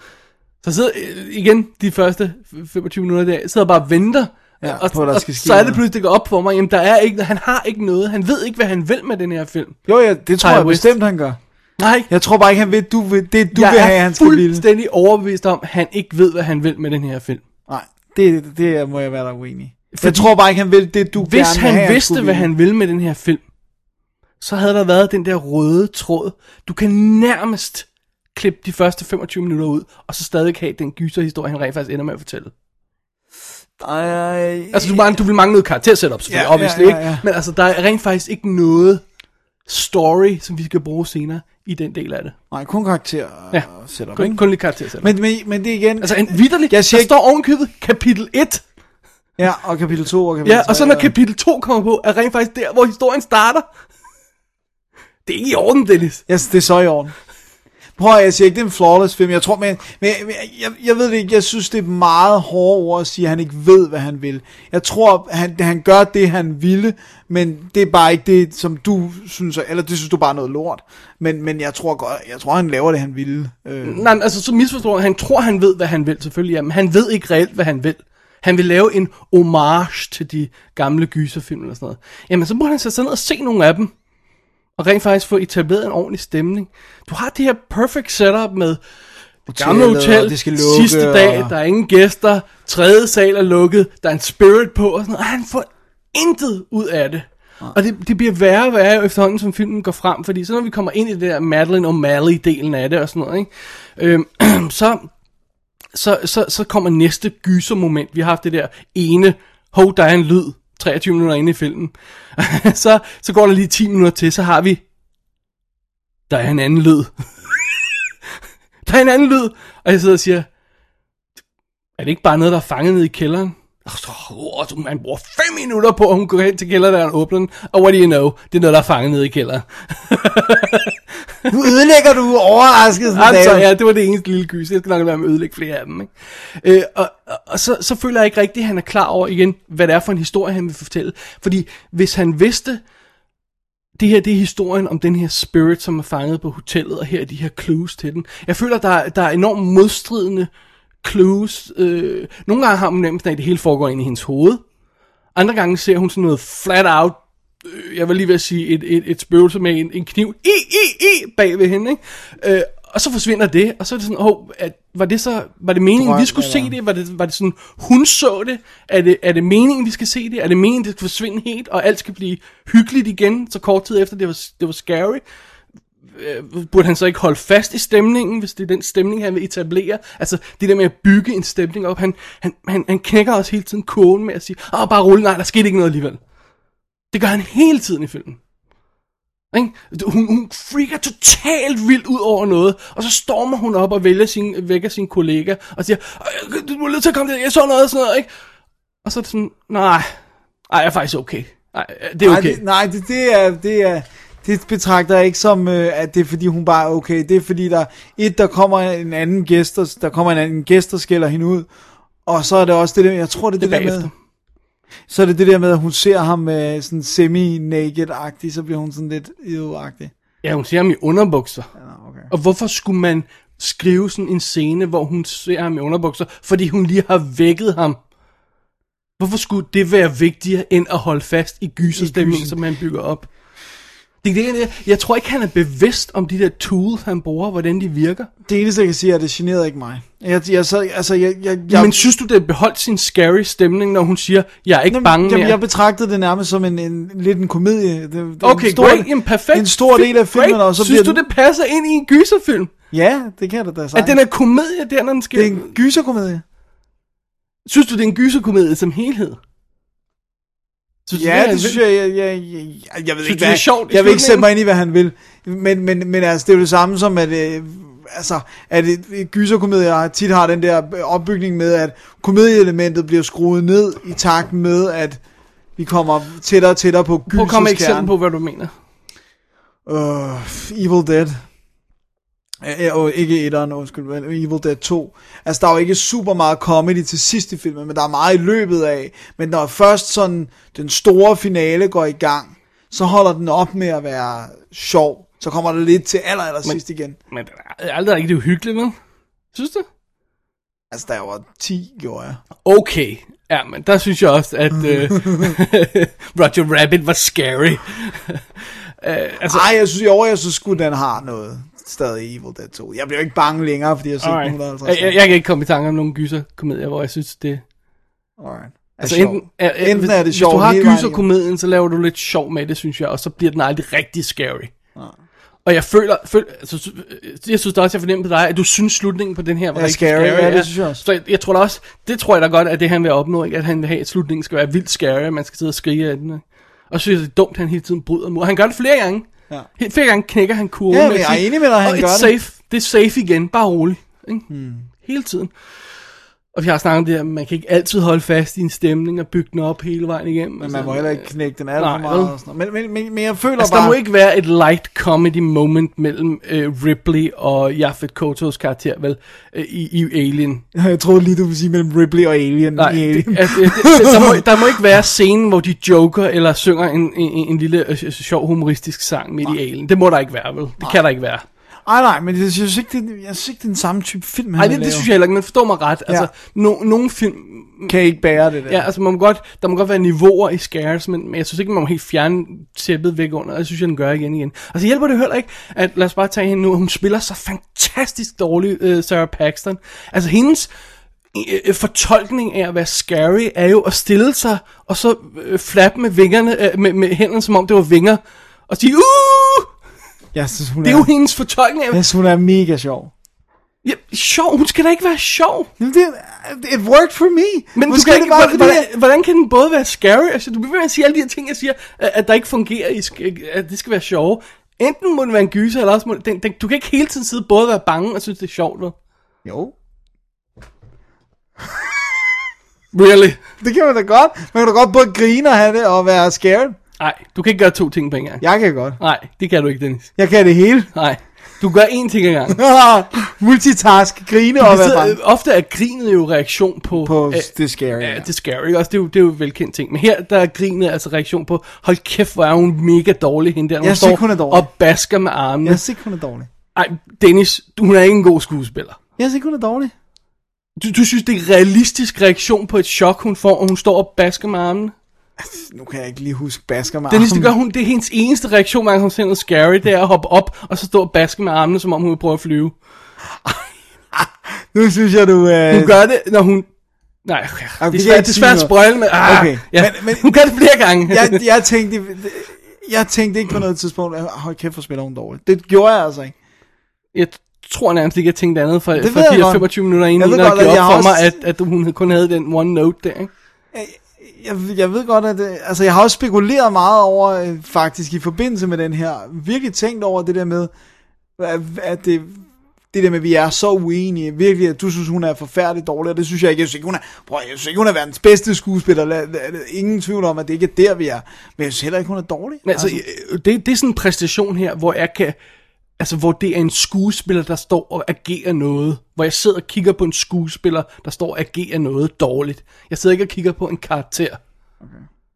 Så sidder, øh, igen, de første 25 minutter der, sidder bare og venter. Ja, og, på, at der og skal ske så er det noget. pludselig, det går op for mig, jamen der er ikke, han har ikke noget, han ved ikke, hvad han vil med den her film. Jo, ja, det tror Ty jeg West. bestemt, han gør. Nej, Jeg tror bare ikke, han ved, du vil, det du jeg vil er have, han skal ville. fuldstændig overbevist om, at han ikke ved, hvad han vil med den her film. Nej, det, det må jeg være der uenig i. Jeg tror bare ikke, han vil det, du Hvis gerne vil have, han vidste, skulle hvad ville. han ville med den her film, så havde der været den der røde tråd. Du kan nærmest klippe de første 25 minutter ud, og så stadig have den gyserhistorie, han rent faktisk ender med at fortælle. Ej, Altså, du, mangler, du vil mangle noget karaktersæt selvfølgelig, Ja, ja, obviously, ja, ja, ja, ja, ja. ikke? Men altså, der er rent faktisk ikke noget story, som vi skal bruge senere i den del af det. nej, kun karakter Ja, ja. setup, kun, ikke? kun lidt karaktersæt. Men, men, men det er igen... altså, en vidderlig, Jeg jeg siger siger der ikke- står ovenkøbet kapitel 1, Ja, og kapitel 2 og kapitel ja, og så tre, når kapitel 2 kommer på, er rent faktisk der, hvor historien starter. Det er ikke i orden, Dennis. Yes, det er så i orden. Prøv at jeg siger ikke, det er en flawless film. Jeg tror, men, men men jeg, jeg ved det ikke. Jeg synes, det er meget hårde ord at sige, at han ikke ved, hvad han vil. Jeg tror, han, han gør det, han ville, men det er bare ikke det, som du synes, er- eller det synes du bare er noget lort. Men, men jeg tror godt, jeg tror, han laver det, han ville. Øh, Nej, men altså, så misforstår han. Han tror, han ved, hvad han vil, selvfølgelig. Ja, men han ved ikke reelt, hvad han vil. Han vil lave en homage til de gamle gyserfilm eller sådan noget. Jamen, så må han sætte sig ned og se nogle af dem. Og rent faktisk få etableret en ordentlig stemning. Du har det her perfect setup med det gamle Hotellet, hotel, og det skal lukke, sidste dag, og- der er ingen gæster, tredje sal er lukket, der er en spirit på og sådan noget. Og han får intet ud af det. Og det, det bliver værre og værre efterhånden, som filmen går frem, fordi så når vi kommer ind i det der Madeline O'Malley-delen af det og sådan noget, ikke? Øhm, så, så, så, så kommer næste gysermoment. Vi har haft det der ene, hov, der er en lyd, 23 minutter inde i filmen. så, så går der lige 10 minutter til, så har vi, der er en anden lyd. der er en anden lyd, og jeg sidder og siger, er det ikke bare noget, der er fanget ned i kælderen? Og så, åh, så man bruger 5 minutter på, at hun går hen til kælderen og åbner den. Og what do you know, det er noget, der er fanget ned i kælderen. nu ødelægger du overraskelsen, Jamen, så, David. ja, det var det eneste lille gys. Jeg skal nok lade være med at ødelægge flere af dem. Ikke? Øh, og, og, og så, så føler jeg ikke rigtigt, at han er klar over igen, hvad det er for en historie, han vil fortælle. Fordi hvis han vidste, det her det er historien om den her spirit, som er fanget på hotellet, og her er de her clues til den. Jeg føler, der, er- der er enormt modstridende clues. Øh, nogle gange har man nemt, at det hele foregår ind i hendes hoved. Andre gange ser hun sådan noget flat out øh, jeg var lige ved at sige, et, et, et spøgelse med en, en kniv, i, i, i, bag ved hende, ikke? Øh, og så forsvinder det, og så er det sådan, oh, at, var det så, var det meningen, Drøm, vi skulle eller? se det? Var det, var det sådan, hun så det? Er, det? er det meningen, vi skal se det? Er det meningen, det skal forsvinde helt, og alt skal blive hyggeligt igen, så kort tid efter, det var, det var scary? Øh, Burde han så ikke holde fast i stemningen, hvis det er den stemning, han vil etablere? Altså, det der med at bygge en stemning op, han, han, han, han knækker os hele tiden kogen med at sige, åh, oh, bare rolig, nej, der skete ikke noget alligevel. Det gør han hele tiden i filmen. Ikke? Hun, hun freaker totalt vildt ud over noget, og så stormer hun op og vælger sin, vækker sin kollega og siger, "Øh, du er nødt til at komme der, jeg så noget og sådan noget, ikke? Og så er det sådan, nej, ej, jeg er faktisk okay. Nej, øh, det er Nej, okay. det, nej, det, det er... Det er det betragter jeg ikke som, øh, at det er fordi hun bare er okay. Det er fordi, der et, der kommer en anden gæst, og, der kommer en anden gæst, der skælder hende ud. Og så er det også det der, jeg tror det er det, Det er det der med, bagefter. så er det det der med, at hun ser ham øh, sådan semi-naked-agtig, så bliver hun sådan lidt ew-agtig. Ja, hun ser ham i underbukser. Nå, okay. Og hvorfor skulle man skrive sådan en scene, hvor hun ser ham i underbukser, fordi hun lige har vækket ham? Hvorfor skulle det være vigtigere, end at holde fast i gyserstemningen, som han bygger op? Det, det, det, jeg tror ikke, han er bevidst om de der tools, han bruger, hvordan de virker. Det eneste, jeg kan sige, er, at det generede ikke mig. Jeg, jeg sad, altså, jeg, jeg, jeg, Jeg, Men synes du, det har beholdt sin scary stemning, når hun siger, jeg er ikke Jamen, bange jamen, mere? jeg betragtede det nærmest som en, en lidt en komedie. Det, det er okay, en stor, great, jamen, perfekt. En stor del af Great. filmen, og så synes bliver du, det passer ind i en gyserfilm? Ja, det kan det da At sagt. den er komedie der, når den skal... Det er en gyserkomedie. Synes du, det er en gyserkomedie som helhed? Synes Ja, det, er en- synes jeg, jeg, jeg, jeg, jeg ved Synes ikke, du, hvad, det er sjovt i jeg vil ikke slutningen? sætte mig ind i, hvad han vil. Men, men, men altså, det er jo det samme som, at, øh, altså, at et- et gyserkomedier tit har den der øh, opbygning med, at komedieelementet bliver skruet ned i takt med, at vi kommer tættere og tættere på Prøv at komme med et gyserskærmen. eksempel på, hvad du mener. Uh, Evil Dead. Ja, og ikke etteren, undskyld, men Evil Dead 2. Altså, der er jo ikke super meget comedy til sidst i filmen, men der er meget i løbet af. Men når først sådan den store finale går i gang, så holder den op med at være sjov. Så kommer det lidt til aller, aller sidst igen. Men det er aldrig ikke det uhyggelige, vel? Synes du? Altså, der var 10, gjorde jeg. Okay. Ja, men der synes jeg også, at øh, Roger Rabbit var scary. øh, altså, Ej, jeg synes, jo, jeg synes sgu, den har noget stadig Evil Dead 2. Jeg bliver jo ikke bange længere, fordi jeg har set den alright. 150. jeg, jeg, jeg kan ikke komme i tanke om nogen gyserkomedier, hvor jeg synes, det Alright. Altså Er sjov. enten, er, er, Enten hvis, er det sjovt Hvis du hele vejen har igennem. gyserkomedien, så laver du lidt sjov med det, synes jeg, og så bliver den aldrig rigtig scary. Og jeg føler, føl, altså, sy- øh, jeg synes da også, jeg fornemmer på dig, at du synes slutningen på den her var Ja, rigtig scary. scary. Ja, det synes jeg også. Så jeg, jeg tror da også, det tror jeg da godt, at det han vil opnå, ikke? at han vil have, at slutningen skal være vildt scary, at man skal sidde og skrige af den. Ikke? Og så synes jeg, det er dumt, at han hele tiden bryder mod. Han gør det flere gange. Ja. Helt flere gange knækker han kurven. Ja, men med at jeg er sige, enig med dig, "Og han it's gør det." safe. Det er safe igen, bare rolig. Ikke? Hmm. Hele tiden. Og vi har snakket om det her, man kan ikke altid holde fast i en stemning og bygge den op hele vejen igennem. Men man må heller ikke knække den alt øh, nej, for meget. vel? Og sådan noget. Men, men, men, men jeg føler Altså, bare... der må ikke være et light comedy moment mellem øh, Ripley og Jafet Kotos karakter, vel, øh, i, i Alien. Jeg troede lige, du ville sige mellem Ripley og Alien. Nej, i det, Alien. altså, det, det, der, må, der må ikke være scenen, hvor de joker eller synger en, en, en lille øh, øh, sjov humoristisk sang midt i Alien. Det må der ikke være, vel? Det kan der ikke være. Ej, nej, men jeg synes ikke, det, jeg synes ikke, det er den samme type film, han Nej, det, det synes jeg heller ikke, men forstå mig ret. Altså, no, nogle film Kan ikke bære det der. Ja, altså man må godt, der må godt være niveauer i scares, men, men jeg synes ikke, man må helt fjerne tæppet væk under, og jeg synes, jeg, den gør igen igen. Og så hjælper det heller ikke, at lad os bare tage hende nu, hun spiller så fantastisk dårligt, øh, Sarah Paxton. Altså hendes øh, fortolkning af at være scary er jo at stille sig, og så øh, flappe med, vingerne, øh, med, med hænderne, som om det var vinger, og sige, uh! Jeg synes, hun Det er jo hendes fortolkning af, jeg synes, hun er mega sjov. ja, sjov, hun skal da ikke være sjov. Jamen, det, it worked for me. Men Måske du kan er ikke, det bare, hvordan, fordi, hvordan, jeg- hvordan kan den både være scary, altså du bliver ved med at sige alle de her ting, jeg siger, at, at der ikke fungerer, i sk- at det skal være sjove. Enten må den være en gyser, eller også må den, den, du kan ikke hele tiden sidde både og være bange og synes, det er sjovt. vel? Jo, Really? det kan man da godt. Man kan da godt både grine og have det og være scared. Nej, du kan ikke gøre to ting på en gang. Jeg kan godt. Nej, det kan du ikke, Dennis. Jeg kan det hele. Nej, du gør én ting ad gangen. Multitask, grine og være Så, bange. øh, ofte er grinet jo reaktion på... På øh, det scary. Ja, det er scary, ikke også? Det er jo, det er jo et velkendt ting. Men her, der er grinet altså reaktion på, hold kæft, hvor er hun mega dårlig, hende der. når Jeg hun synes står ikke, hun er dårlig. Og basker med armene. Jeg synes ikke, hun er dårlig. Ej, Dennis, du, hun er ikke en god skuespiller. Jeg synes ikke, hun er dårlig. Du, du synes, det er en realistisk reaktion på et chok, hun får, og hun står og basker med armen? Nu kan jeg ikke lige huske basker med Dennis, det armen. gør hun. Det er hendes eneste reaktion, man kan se noget scary, det er at hoppe op, og så stå og baske med armene, som om hun vil prøve at flyve. Nu synes jeg, du... Øh... Hun gør det, når hun... Nej, ja, vi kan det er svært, ikke det er sige svært at noget. sprøjle med. Ah, Okay, okay. ja. men- men, men- men, hun gør det flere gange. jeg, jeg, tænkte, jeg tænkte ikke på noget tidspunkt, at "Ah, hold kæft, hvor spiller hun dårligt. Det gjorde jeg altså ikke. jeg tror nærmest ikke, jeg tænkte andet for, ved for jeg de der godt. 25 minutter Jeg inden, ved når det godt, at gik op jeg for også- mig, at, at hun kun havde den one note der. Ikke? Jeg, jeg ved godt, at øh, altså, jeg har også spekuleret meget over, øh, faktisk i forbindelse med den her, virkelig tænkt over det der med, at, at det, det der med, at vi er så uenige, virkelig, at du synes, hun er forfærdelig dårlig, og det synes jeg ikke. Jeg synes ikke, hun er, prøv, jeg synes ikke, hun er verdens bedste skuespiller. La- la- la- Ingen tvivl om, at det ikke er der, vi er. Men jeg synes heller ikke, hun er dårlig. Men altså, øh, det, det er sådan en præstation her, hvor jeg kan... Altså, hvor det er en skuespiller, der står og agerer noget. Hvor jeg sidder og kigger på en skuespiller, der står og agerer noget dårligt. Jeg sidder ikke og kigger på en karakter. Okay.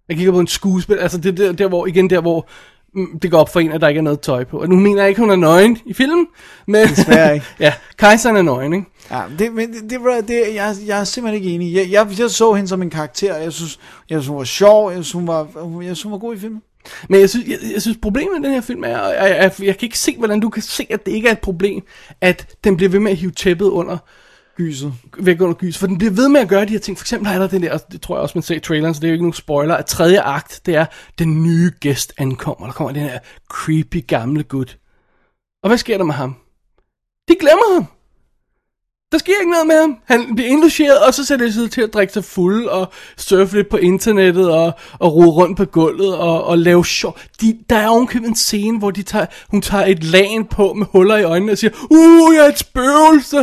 Jeg kigger på en skuespiller. Altså, det er der, der hvor, igen der, hvor mm, det går op for en, at der ikke er noget tøj på. Og nu mener jeg ikke, hun er nøgen i filmen. Men Desværre ikke. ja, kejseren er nøgen, ikke? Ja, det, men det, det, var- det jeg, jeg er simpelthen ikke enig. Jeg, jeg, jeg så hende som en karakter, og jeg synes, jeg synes hun var sjov, jeg synes, hun var, jeg synes, hun var god i filmen. Men jeg synes, jeg, jeg synes problemet med den her film er, og jeg, jeg, jeg kan ikke se, hvordan du kan se, at det ikke er et problem, at den bliver ved med at hive tæppet under Gyset. væk under gys, for den bliver ved med at gøre de her ting. For eksempel er der den der, og det tror jeg også, man ser i traileren, så det er jo ikke nogen spoiler, at tredje akt, det er, den nye gæst ankommer. Der kommer den her creepy gamle gut. Og hvad sker der med ham? De glemmer ham. Der sker ikke noget med ham. Han bliver indlogeret, og så sætter det sig til at drikke sig fuld, og surfe lidt på internettet, og, og rode rundt på gulvet, og, og lave sjov. De, der er ovenkøbet en scene, hvor de tager, hun tager et lagen på med huller i øjnene, og siger, uh, jeg er et spøgelse.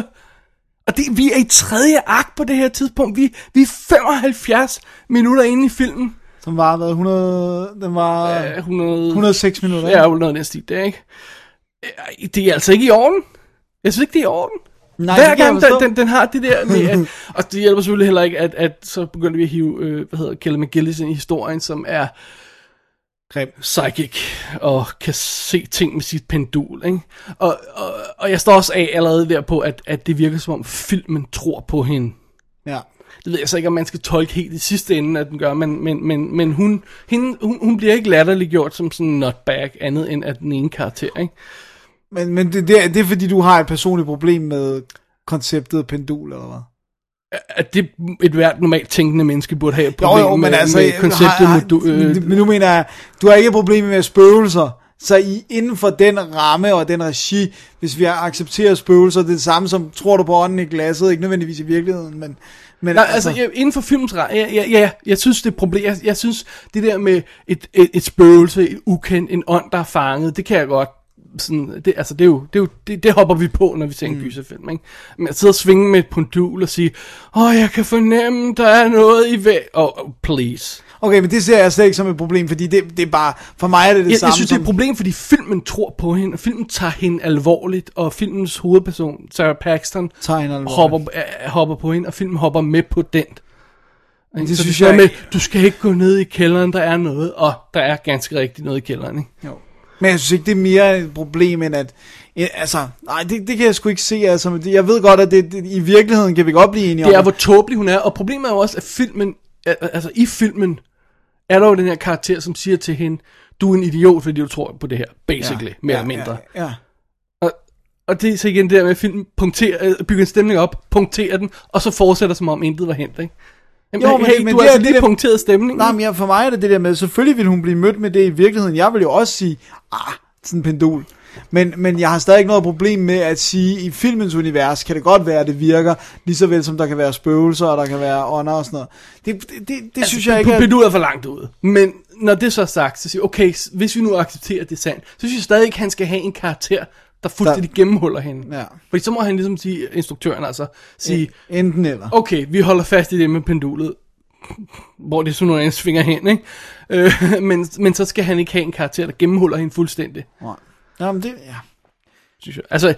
Og det, vi er i tredje akt på det her tidspunkt. Vi, vi er 75 minutter inde i filmen. Som var, hvad, 100, den var Øh, 100, 106 minutter. Ja, Ja. 100 næste stil, det er ikke. Øh, Det er altså ikke i orden. Jeg synes ikke, det er i orden. Nej, Hver det kan jeg gang forstå. den, den, den har det der med, at, og det hjælper selvfølgelig heller ikke, at, at så begynder vi at hive, øh, hvad hedder Kelly McGillis ind i historien, som er Grim. psychic og kan se ting med sit pendul. Ikke? Og, og, og jeg står også af allerede der på, at, at det virker som om filmen tror på hende. Ja. Det ved jeg så ikke, om man skal tolke helt i sidste ende, at den gør, men, men, men, men hun, hende, hun, hun bliver ikke latterliggjort som sådan en nutbag, andet end at den ene karakter, ikke? Men, men det, det, er, det er fordi, du har et personligt problem med konceptet pendul, eller hvad? At det et hvert normalt tænkende menneske burde have et Jo, problem jo, men med, altså... med konceptet har, har, modu- øh, men nu mener jeg, du har ikke et problem med spøgelser. Så i, inden for den ramme og den regi, hvis vi accepterer spøgelser, det er det samme som, tror du på ånden i glasset, ikke nødvendigvis i virkeligheden, men... men Nej, altså, jeg, inden for filmens ra- ja, ja, ja, jeg synes, det er et problem. Jeg, jeg synes, det der med et, et, et spøgelse, et ukendt, en ånd, der er fanget, det kan jeg godt sådan, det, altså det er jo, det, er jo det, det, hopper vi på, når vi ser en mm. gyserfilm, ikke? Men at sidde og svinge med et pendul og sige, åh, jeg kan fornemme, der er noget i væg. Åh, oh, please. Okay, men det ser jeg slet ikke som et problem, fordi det, det er bare, for mig er det det Jeg, samme jeg synes, det er som... et problem, fordi filmen tror på hende, og filmen tager hende alvorligt, og filmens hovedperson, Sarah Paxton, Tager hende alvorligt. hopper, øh, hopper på hende, og filmen hopper med på den. Det så synes det der jeg med, ikke- du skal ikke gå ned i kælderen, der er noget, og der er ganske rigtigt noget i kælderen, ikke? Jo. Men jeg synes ikke, det er mere et problem, end at... Ja, altså, nej, det, det kan jeg sgu ikke se. Altså, men det- jeg ved godt, at det, det, i virkeligheden kan vi godt blive enige Det er, om. hvor tåbelig hun er, og problemet er jo også, at filmen, al- altså i filmen, er der jo den her karakter, som siger til hende, du er en idiot, fordi du tror på det her, basically, ja, mere ja, eller mindre. Ja, ja. Og det er så igen det der med, at filmen punkterer, øh, bygger en stemning op, punkterer den, og så fortsætter som om intet var hændt, ikke? Jamen, Jo, jo, men men, hey, det- men du det har er altså det lige der- punkteret stemningen. Nej, men jeg, for mig er det det der med, selvfølgelig vil hun blive mødt med det i virkeligheden. Jeg vil jo også sige, ah, sådan en pendul. Men, men jeg har stadig ikke noget problem med at sige, i filmens univers kan det godt være, at det virker, lige så vel som der kan være spøgelser, og der kan være ånder og sådan noget. Det, det, det, det altså, synes jeg ikke er... Pedu er for langt ude. Men når det så er sagt, så siger jeg, okay, s- hvis vi nu accepterer, at det er sandt, så synes jeg stadig ikke, han skal have en karakter, der fuldstændig der... gennemhuller hende. Ja. Fordi så må han ligesom sige, instruktøren altså, sige, Enten eller. okay, vi holder fast i det med pendulet, hvor det er sådan noget, han svinger hen, ikke? Øh, men, men så skal han ikke have en karakter, der gennemhuller hende fuldstændig, Nej. Jamen, det, ja. synes jeg. Altså,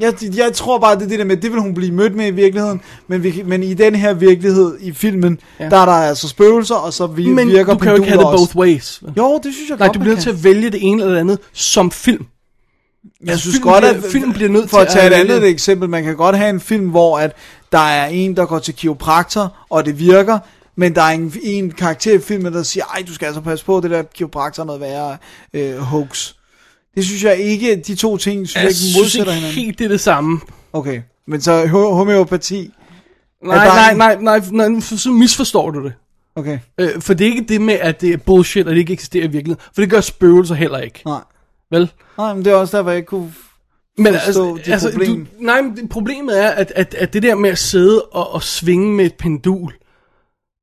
Jeg, jeg tror bare, det er det der med, det vil hun blive mødt med i virkeligheden, men, vi, men i den her virkelighed i filmen, ja. Ja. der er der altså spøgelser, og så vi, men virker du kan jo ikke have det penduler both ways. vel? Jo, det synes jeg Nej, godt, du man bliver nødt kan. til at vælge det ene eller det andet som film. Altså, Jeg synes filmen godt, at bliver- filmen bliver nødt for at til tage at- et andet eksempel, man kan godt have en film, hvor at der er en, der går til kiropraktor, og det virker, men der er en, en karakter i filmen, der siger, ej, du skal altså passe på, det der kiropraktor er noget værre øh, hoax. Det synes jeg ikke, de to ting, synes jeg, Jeg ikke synes modsætter ikke hinanden. helt, det er det samme. Okay, men så ho- homeopati, der Nej, nej, en- nej, nej, nej, nej, så misforstår du det. okay, Øh, for det er ikke det med, at det er bullshit, og det ikke eksisterer i virkeligheden. For det gør spøgelser heller ikke, nej. vel? Nej, men det er også der, hvor jeg ikke kunne... Men altså, Forstå dit problem. nej, men det- problemet er, at, at, at det der med at sidde og, og svinge med et pendul,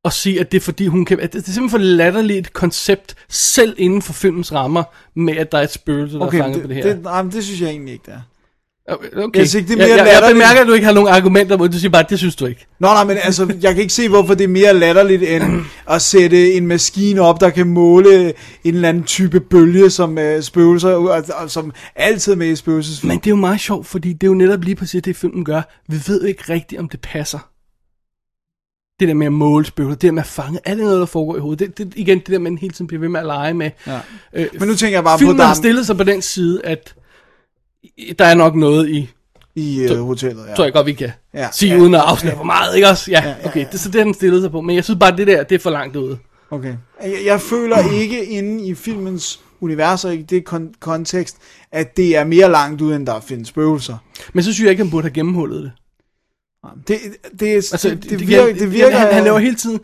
og sige, at det er fordi hun kan... At det, det er simpelthen for latterligt et koncept, selv inden for filmens rammer, med at der er et spøgelse, der Okay, er fanget det, på det her. Øh, det, nej, men det synes jeg egentlig ikke, det er. okay. jeg synes ikke, det er mere jeg, jeg, jeg latterligt. bemærker, at du ikke har nogen argumenter mod det. Du siger bare, at det synes du ikke. Nå nej, men altså, jeg kan ikke se, hvorfor det er mere latterligt, end at sætte en maskine op, der kan måle en eller anden type bølge, som øh, spøgelser, og, og, som altid er med i spøgelsesfilm. Men det er jo meget sjovt, fordi det er jo netop lige præcis det, filmen gør. Vi ved jo ikke rigtigt, om det passer. Det der med at måle spøgelser, det der med at fange, alt det noget, der foregår i hovedet. Det, det, igen, det der, man hele tiden bliver ved med at lege med. Ja. Øh, Men nu tænker jeg bare filmen på, der har er stillet sig på den side, at der er nok noget i, ja. i øh, hotellet. Ja. tror jeg godt, vi kan Ja, ja. sige, ja, uden at afsløre for meget, ikke også? Ja, ja, okay, det, så det har den stillet sig på. Men jeg synes bare, det der, det er for langt ude. Okay. Jeg, jeg føler ikke inde i filmens univers og i det kon- kontekst, at det er mere langt ud, end der findes spøgelser. Men så synes jeg ikke, han burde have gennemhullet det. Det, det, Altså, altså, det, det, virker, det virker... han, han laver hele tiden,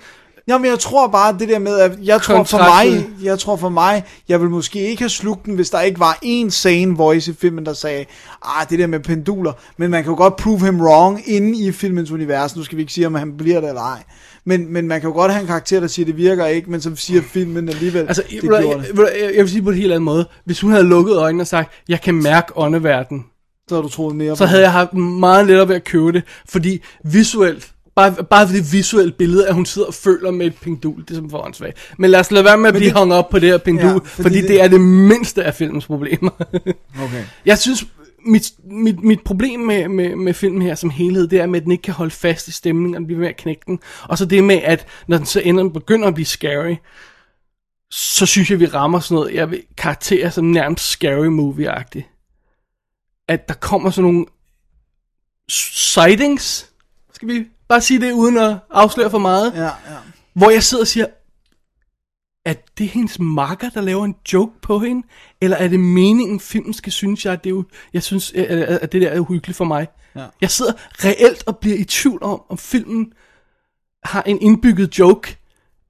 Jamen, jeg tror bare det der med, at jeg tror for mig, Kontraktet. jeg tror for mig, jeg ville måske ikke have slugt den, hvis der ikke var en sane voice i filmen, der sagde, ah, det der med penduler, men man kan jo godt prove him wrong inde i filmens univers, nu skal vi ikke sige, om han bliver det eller ej. Men, men man kan jo godt have en karakter, der siger, det virker ikke, men som siger filmen alligevel, Altså, det det jeg, gjorde det. jeg, jeg, jeg vil sige på en helt anden måde. Hvis hun havde lukket øjnene og sagt, jeg kan mærke åndeverden, Så har du troet mere så på havde det. jeg haft meget lettere ved at købe det, fordi visuelt, bare, bare for det visuelle billede, at hun sidder og føler med et pendul, det er som for åndssvagt. Men lad os lade være med at blive det- hung op på det her pendul, Ja, ja, fordi fordi, fordi det- det... det er det mindste af filmens problemer. Okay. Jeg synes, mit, mit, mit problem med, med, med filmen her som helhed, det er med, at den ikke kan holde fast i stemningen, og den bliver ved med at knække den. Og så det med, at når den så ender, den begynder at blive scary, så synes jeg, vi rammer sådan noget, jeg vil karakterer som nærmest scary movie-agtigt. At der kommer sådan nogle sightings, skal vi bare sige det, uden at afsløre for meget, Ja, ja. hvor jeg sidder og siger, er det hendes makker, der laver en joke på hende? Eller er det meningen, filmen skal synes, jeg, det er jo, jeg synes, øh, øh, at det der er uhyggeligt for mig? Ja. Jeg sidder reelt og bliver i tvivl om, om filmen har en indbygget joke,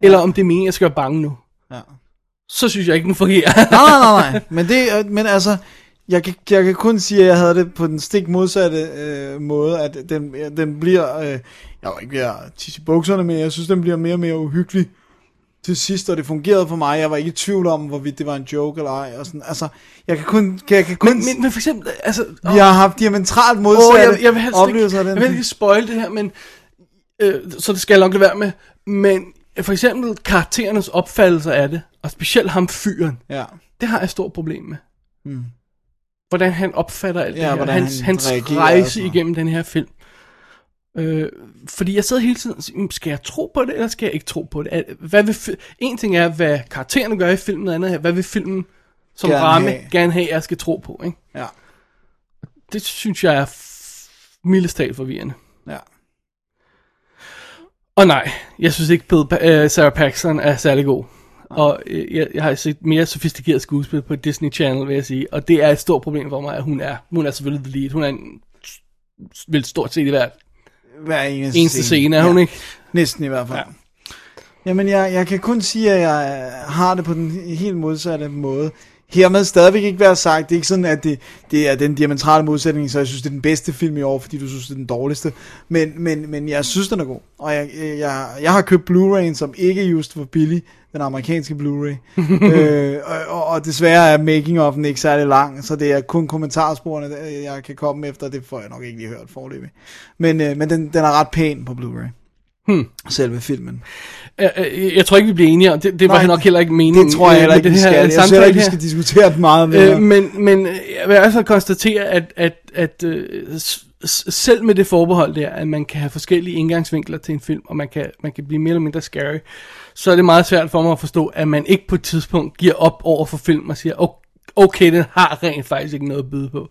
eller om det er meningen, jeg skal være bange nu. Ja. så synes jeg ikke, den fungerer. Nej, nej, nej, nej. Men, det, øh, men altså, jeg kan, jeg kan kun sige, at jeg havde det på den stik modsatte øh, måde, at den, øh, den bliver, øh, jeg vil ikke være tisse i bukserne, men jeg synes, den bliver mere og mere uhyggelig til sidst, og det fungerede for mig. Jeg var ikke i tvivl om, hvorvidt det var en joke eller ej. Og sådan. Altså, jeg kan kun, jeg kan kun men, men, men for eksempel, altså... vi har haft diamantralt Åh, modsatte jeg, jeg vil helst ikke, oplevelser af jeg den. vil ikke spoil det her, men øh, så det skal jeg nok lade være med. Men øh, for eksempel karakterernes opfattelse af det, og specielt ham fyren, Ja, det har jeg et stort problem med. Mm. Hvordan han opfatter alt Hmm. Ja, det her, hvordan hans, han hans reagerer og rejse sådan noget. igennem den her film. Øh, fordi jeg sidder hele tiden og siger, "Mm, skal jeg tro på det, eller skal jeg ikke tro på det? Er- Hvad vil fi- en ting er, hvad karaktererne gør i filmen, noget andet er, hvad vil filmen som Gerne ramme have. gerne have, jeg skal tro på? Ikke? ja, Det synes jeg er f- mildest talt forvirrende. ja. Og nej, jeg synes ikke, Bill pa- øh, Sarah Paxton er særlig god. Og øh, jeg, jeg har set mere sofistikeret skuespil på Disney Channel, vil jeg sige. Og det er et stort problem for mig, at hun er. Hun er selvfølgelig the lead. Hun er en, vil stort set i hvert Hver eneste, eneste scene, er hun Ja. ikke? Næsten i hvert fald. Ja. Jamen, jeg, jeg kan kun sige, at jeg har det på den helt modsatte måde. Hermed stadigvæk ikke være sagt, det er ikke sådan, at det, det er den diametrale modsætning, så jeg synes, det er den bedste film i år, fordi du synes, det er den dårligste. Men, men, men jeg synes, den er god. Og jeg, jeg, jeg har købt Blu-ray'en, som ikke just var billig, den amerikanske Blu-ray. øh, og, og, og desværre er making of'en ikke særlig lang, så det er kun kommentarsporene, øh, jeg kan komme efter, det får jeg nok ikke lige hørt forløbig. Men, øh, men den, den er ret pæn på Blu-ray. Selve filmen. Jeg, Øh, jeg, jeg tror ikke, vi bliver enige, og det, det var Nej, nok heller ikke meningen. Det tror jeg øh, heller med ikke, vi det her skal. Jeg synes samtale heller ikke, vi her. skal diskutere det meget mere. Øh, men, men øh, jeg vil altså konstatere, at, at, at øh, s- s- selv med det forbehold der, at man kan have forskellige indgangsvinkler til en film, og man kan, man kan blive mere eller mindre scary, så er det meget svært for mig at forstå, at man ikke på et tidspunkt giver op over for film og siger, okay, okay den har rent faktisk ikke noget at byde på.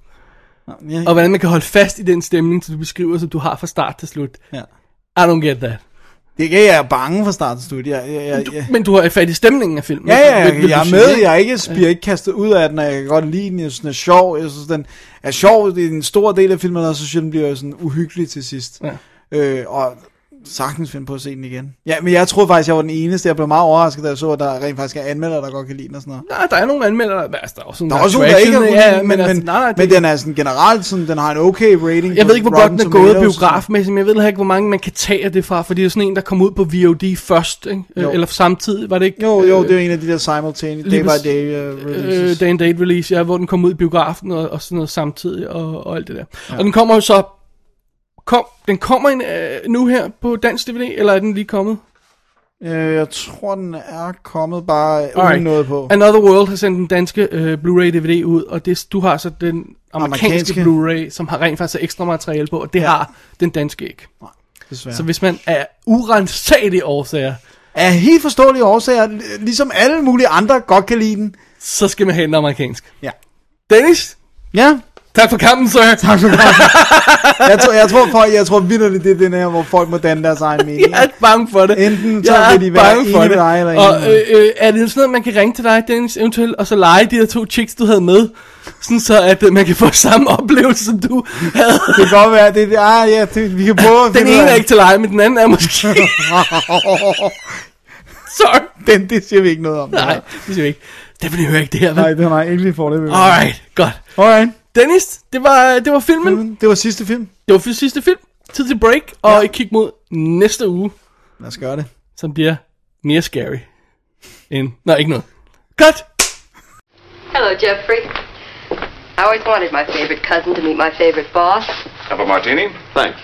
jeg, Og hvordan man kan holde fast i den stemning, som du beskriver, som du har fra start til slut. ja. I don't get that. Det er ikke, jeg er bange for start til slut. Jeg, jeg, jeg, Du, jeg, Men du har fat i stemningen af filmen. ja, ja, ikke? Vil- jeg, vil du jeg er sige, med. ikke? Jeg er ikke, bliver ikke kastet ud af den, og jeg kan godt lide den. Jeg synes, den er sjov. Jeg synes, den er sjov. Det er en stor del af filmen, og så synes jeg, den bliver sådan uhyggelig til sidst. Ja. Øh, og sagtens finde på at se den igen. Ja, men jeg troede faktisk, jeg var den eneste. Jeg blev meget overrasket, da jeg så, at der rent faktisk er anmeldere, der godt kan lide den og sådan noget. Nej, der er nogle anmeldere, der, altså, der er også nogle Der er også nogen, der ikke er attraction, ja, ja, men, men, altså, men, nej, nej, det- men den er sådan generelt sådan, den har en okay rating. Jeg på ved ikke, hvor Rotten godt den er gået Tomatoes. biografmæssigt, men jeg ved heller ikke, hvor mange man kan tage af det fra, fordi det er sådan en, der kom ud på VOD først, ikke? Jo. Øh, eller samtidig, var det ikke? Jo, jo, det er jo en af de der simultaneous day Øh, lige by day uh, Øh, releases. day and Date Release, ja, hvor den kom ud i biografen og, og sådan noget samtidig og, og alt det der. Ja. Og den kommer jo så... Kom, den kommer en, øh, nu her på dansk DVD, eller er den lige kommet? Øh, jeg tror, den er kommet bare Alright. Alright. uden noget på. Another World har sendt den danske øh, Blu-ray DVD ud, og det, du har så den amerikanske, Amerikanske. Blu-ray, som har rent faktisk ekstra materiale på, og det ja. har den danske ikke. Ja. Desværre. Så hvis man er urensagelige årsager, Af helt forståelige årsager, ligesom alle mulige andre godt kan lide den. så skal man have den amerikansk. Ja. Dennis, Ja, tak for kampen, sir. Tak for jeg tror, jeg tror, folk, jeg tror vildt, det er den her, hvor folk må danne deres egen mening. Jeg er bange for det. Enten så jeg vil de være bange enige med dig, eller og enige med- øh, øh, er det sådan noget, man kan ringe til dig, Dennis, eventuelt, og så lege de der to chicks, du havde med? Sådan så, at øh, man kan få samme oplevelse, som du havde. Det kan godt være, det, det ah, ja, det, vi kan prøve at Den finde ud ene af er ikke til leje, men den anden er måske. Sorry. Den, det siger vi ikke noget om. Nej, det siger vi ikke. Det vil I høre ikke det her, Nej, vel? den har jeg ikke lige forløbet. Alright, godt. Alright. Dennis, det var, øh, det var filmen. Det var sidste film. Det var for sidste film. Tid til break, og ja. kig mod næste uge. Lad os gøre det. som bliver mere scary end... Nå, ikke noget. Godt! Hello, Jeffrey. I always wanted my favorite cousin to meet my favorite boss. Have a martini? Thanks.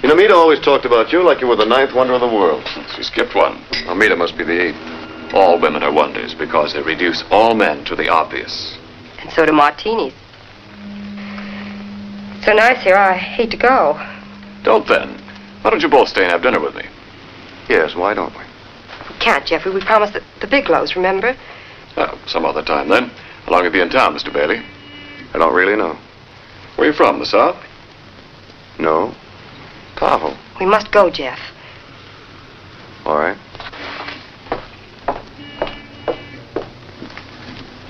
You know, Mita always talked about you like you were the ninth wonder of the world. She skipped one. Amita must be the eighth. All women are wonders because they reduce all men to the obvious. And so do martinis. So nice here, I hate to go. Don't then. Why don't you both stay and have dinner with me? Yes, why don't we? We can't, Jeffrey. We promised the, the Bigelows, remember? Oh, some other time then. How long have you been in town, Mr. Bailey? I don't really know. Where are you from, the South? No. Tahoe. We must go, Jeff. All right.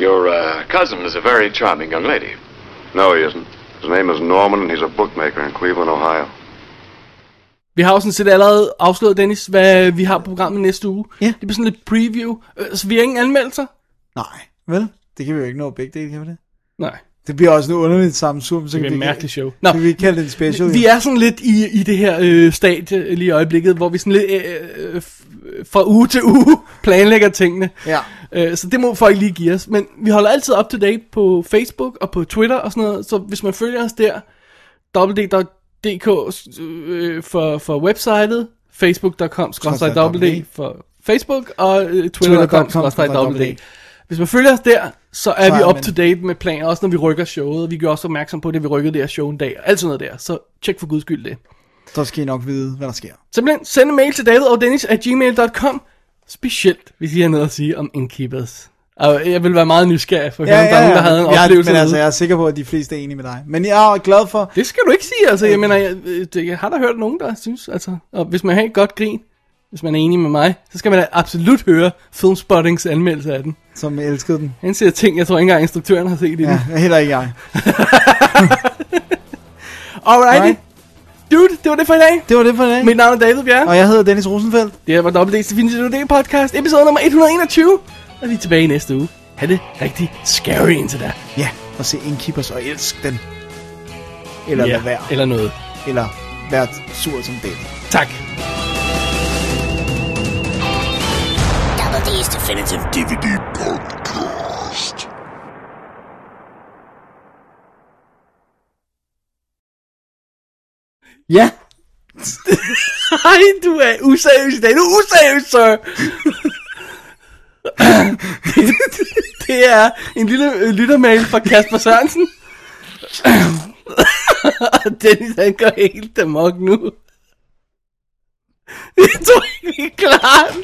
Your uh, cousin is a very charming young lady. No, he isn't. His name is Norman, and he's a bookmaker in Cleveland, Ohio. Vi har jo sådan set allerede afsløret, Dennis, hvad vi har på programmet næste uge. Ja. Det bliver sådan lidt preview. Øh, Så vi har ingen anmeldelser? Nej, vel? Det kan vi jo ikke nå begge dele, kan vi det? Nej. Det bliver også noget underligt sammensur, så Det kan bliver vi et ikke- mærkeligt show. så kan vi ikke kalde det en special. Vi er sådan lidt i, i det her øh, stadie lige i øjeblikket, hvor vi sådan lidt øh, øh, f- fra uge til uge planlægger tingene. Ja. Øh, så det må folk lige give os. Men vi holder altid up to date på Facebook og på Twitter og sådan noget. Så hvis man følger os der, www.dk øh, for, for websitet, facebook.com www for Facebook og øh, twitter.com www. Hvis man følger os der, så Så er er vi man- up to date med planer, også når vi rykker showet. Vi gør også opmærksom på det, vi rykkede det her show en dag, og alt sådan noget der. Så tjek for guds skyld det. Så skal I nok vide, hvad der sker. Simpelthen send en mail til David og Dennis at gmail.com. Specielt, hvis I har noget at sige om Innkeepers. Og jeg vil være meget nysgerrig for at høre, om der er nogen, der havde en ja, oplevelse. men altså, derude. jeg er sikker på, at de fleste er enige med dig. Men jeg er glad for, Det skal du ikke sige, altså. Jeg mener, jeg, øh, det- jeg har da hørt nogen, der synes, altså. Og hvis man har et godt grin, hvis man er enig med mig, så skal man da absolut høre Filmspottings anmeldelse af den. som elskede den. Han ser ting, jeg tror ikke engang instruktøren har set i den. Ja, heller ikke jeg. Alrighty. Dude, det var det for i dag. Det var det for i dag. Mit navn er David Bjerre. Og jeg hedder Dennis Rosenfeldt. Det her var Dobbelt D's Definitive DVD podcast, episode nummer 121. Og vi er tilbage i næste uge. Ha' det rigtig scary indtil da. Ja, og se Innkeepers og elsk den. Eller yeah. lad være. Eller noget. Eller vær sur som David. Tak. Double D's Definitive DVD Podcast. Ja, Ej, du er useriøs i dag. Du er useriøs, sir. det, det er en lille øh, lyttermail fra Kasper Sørensen. Og Dennis, han går helt amok nu. Jeg tror ikke, vi er klar.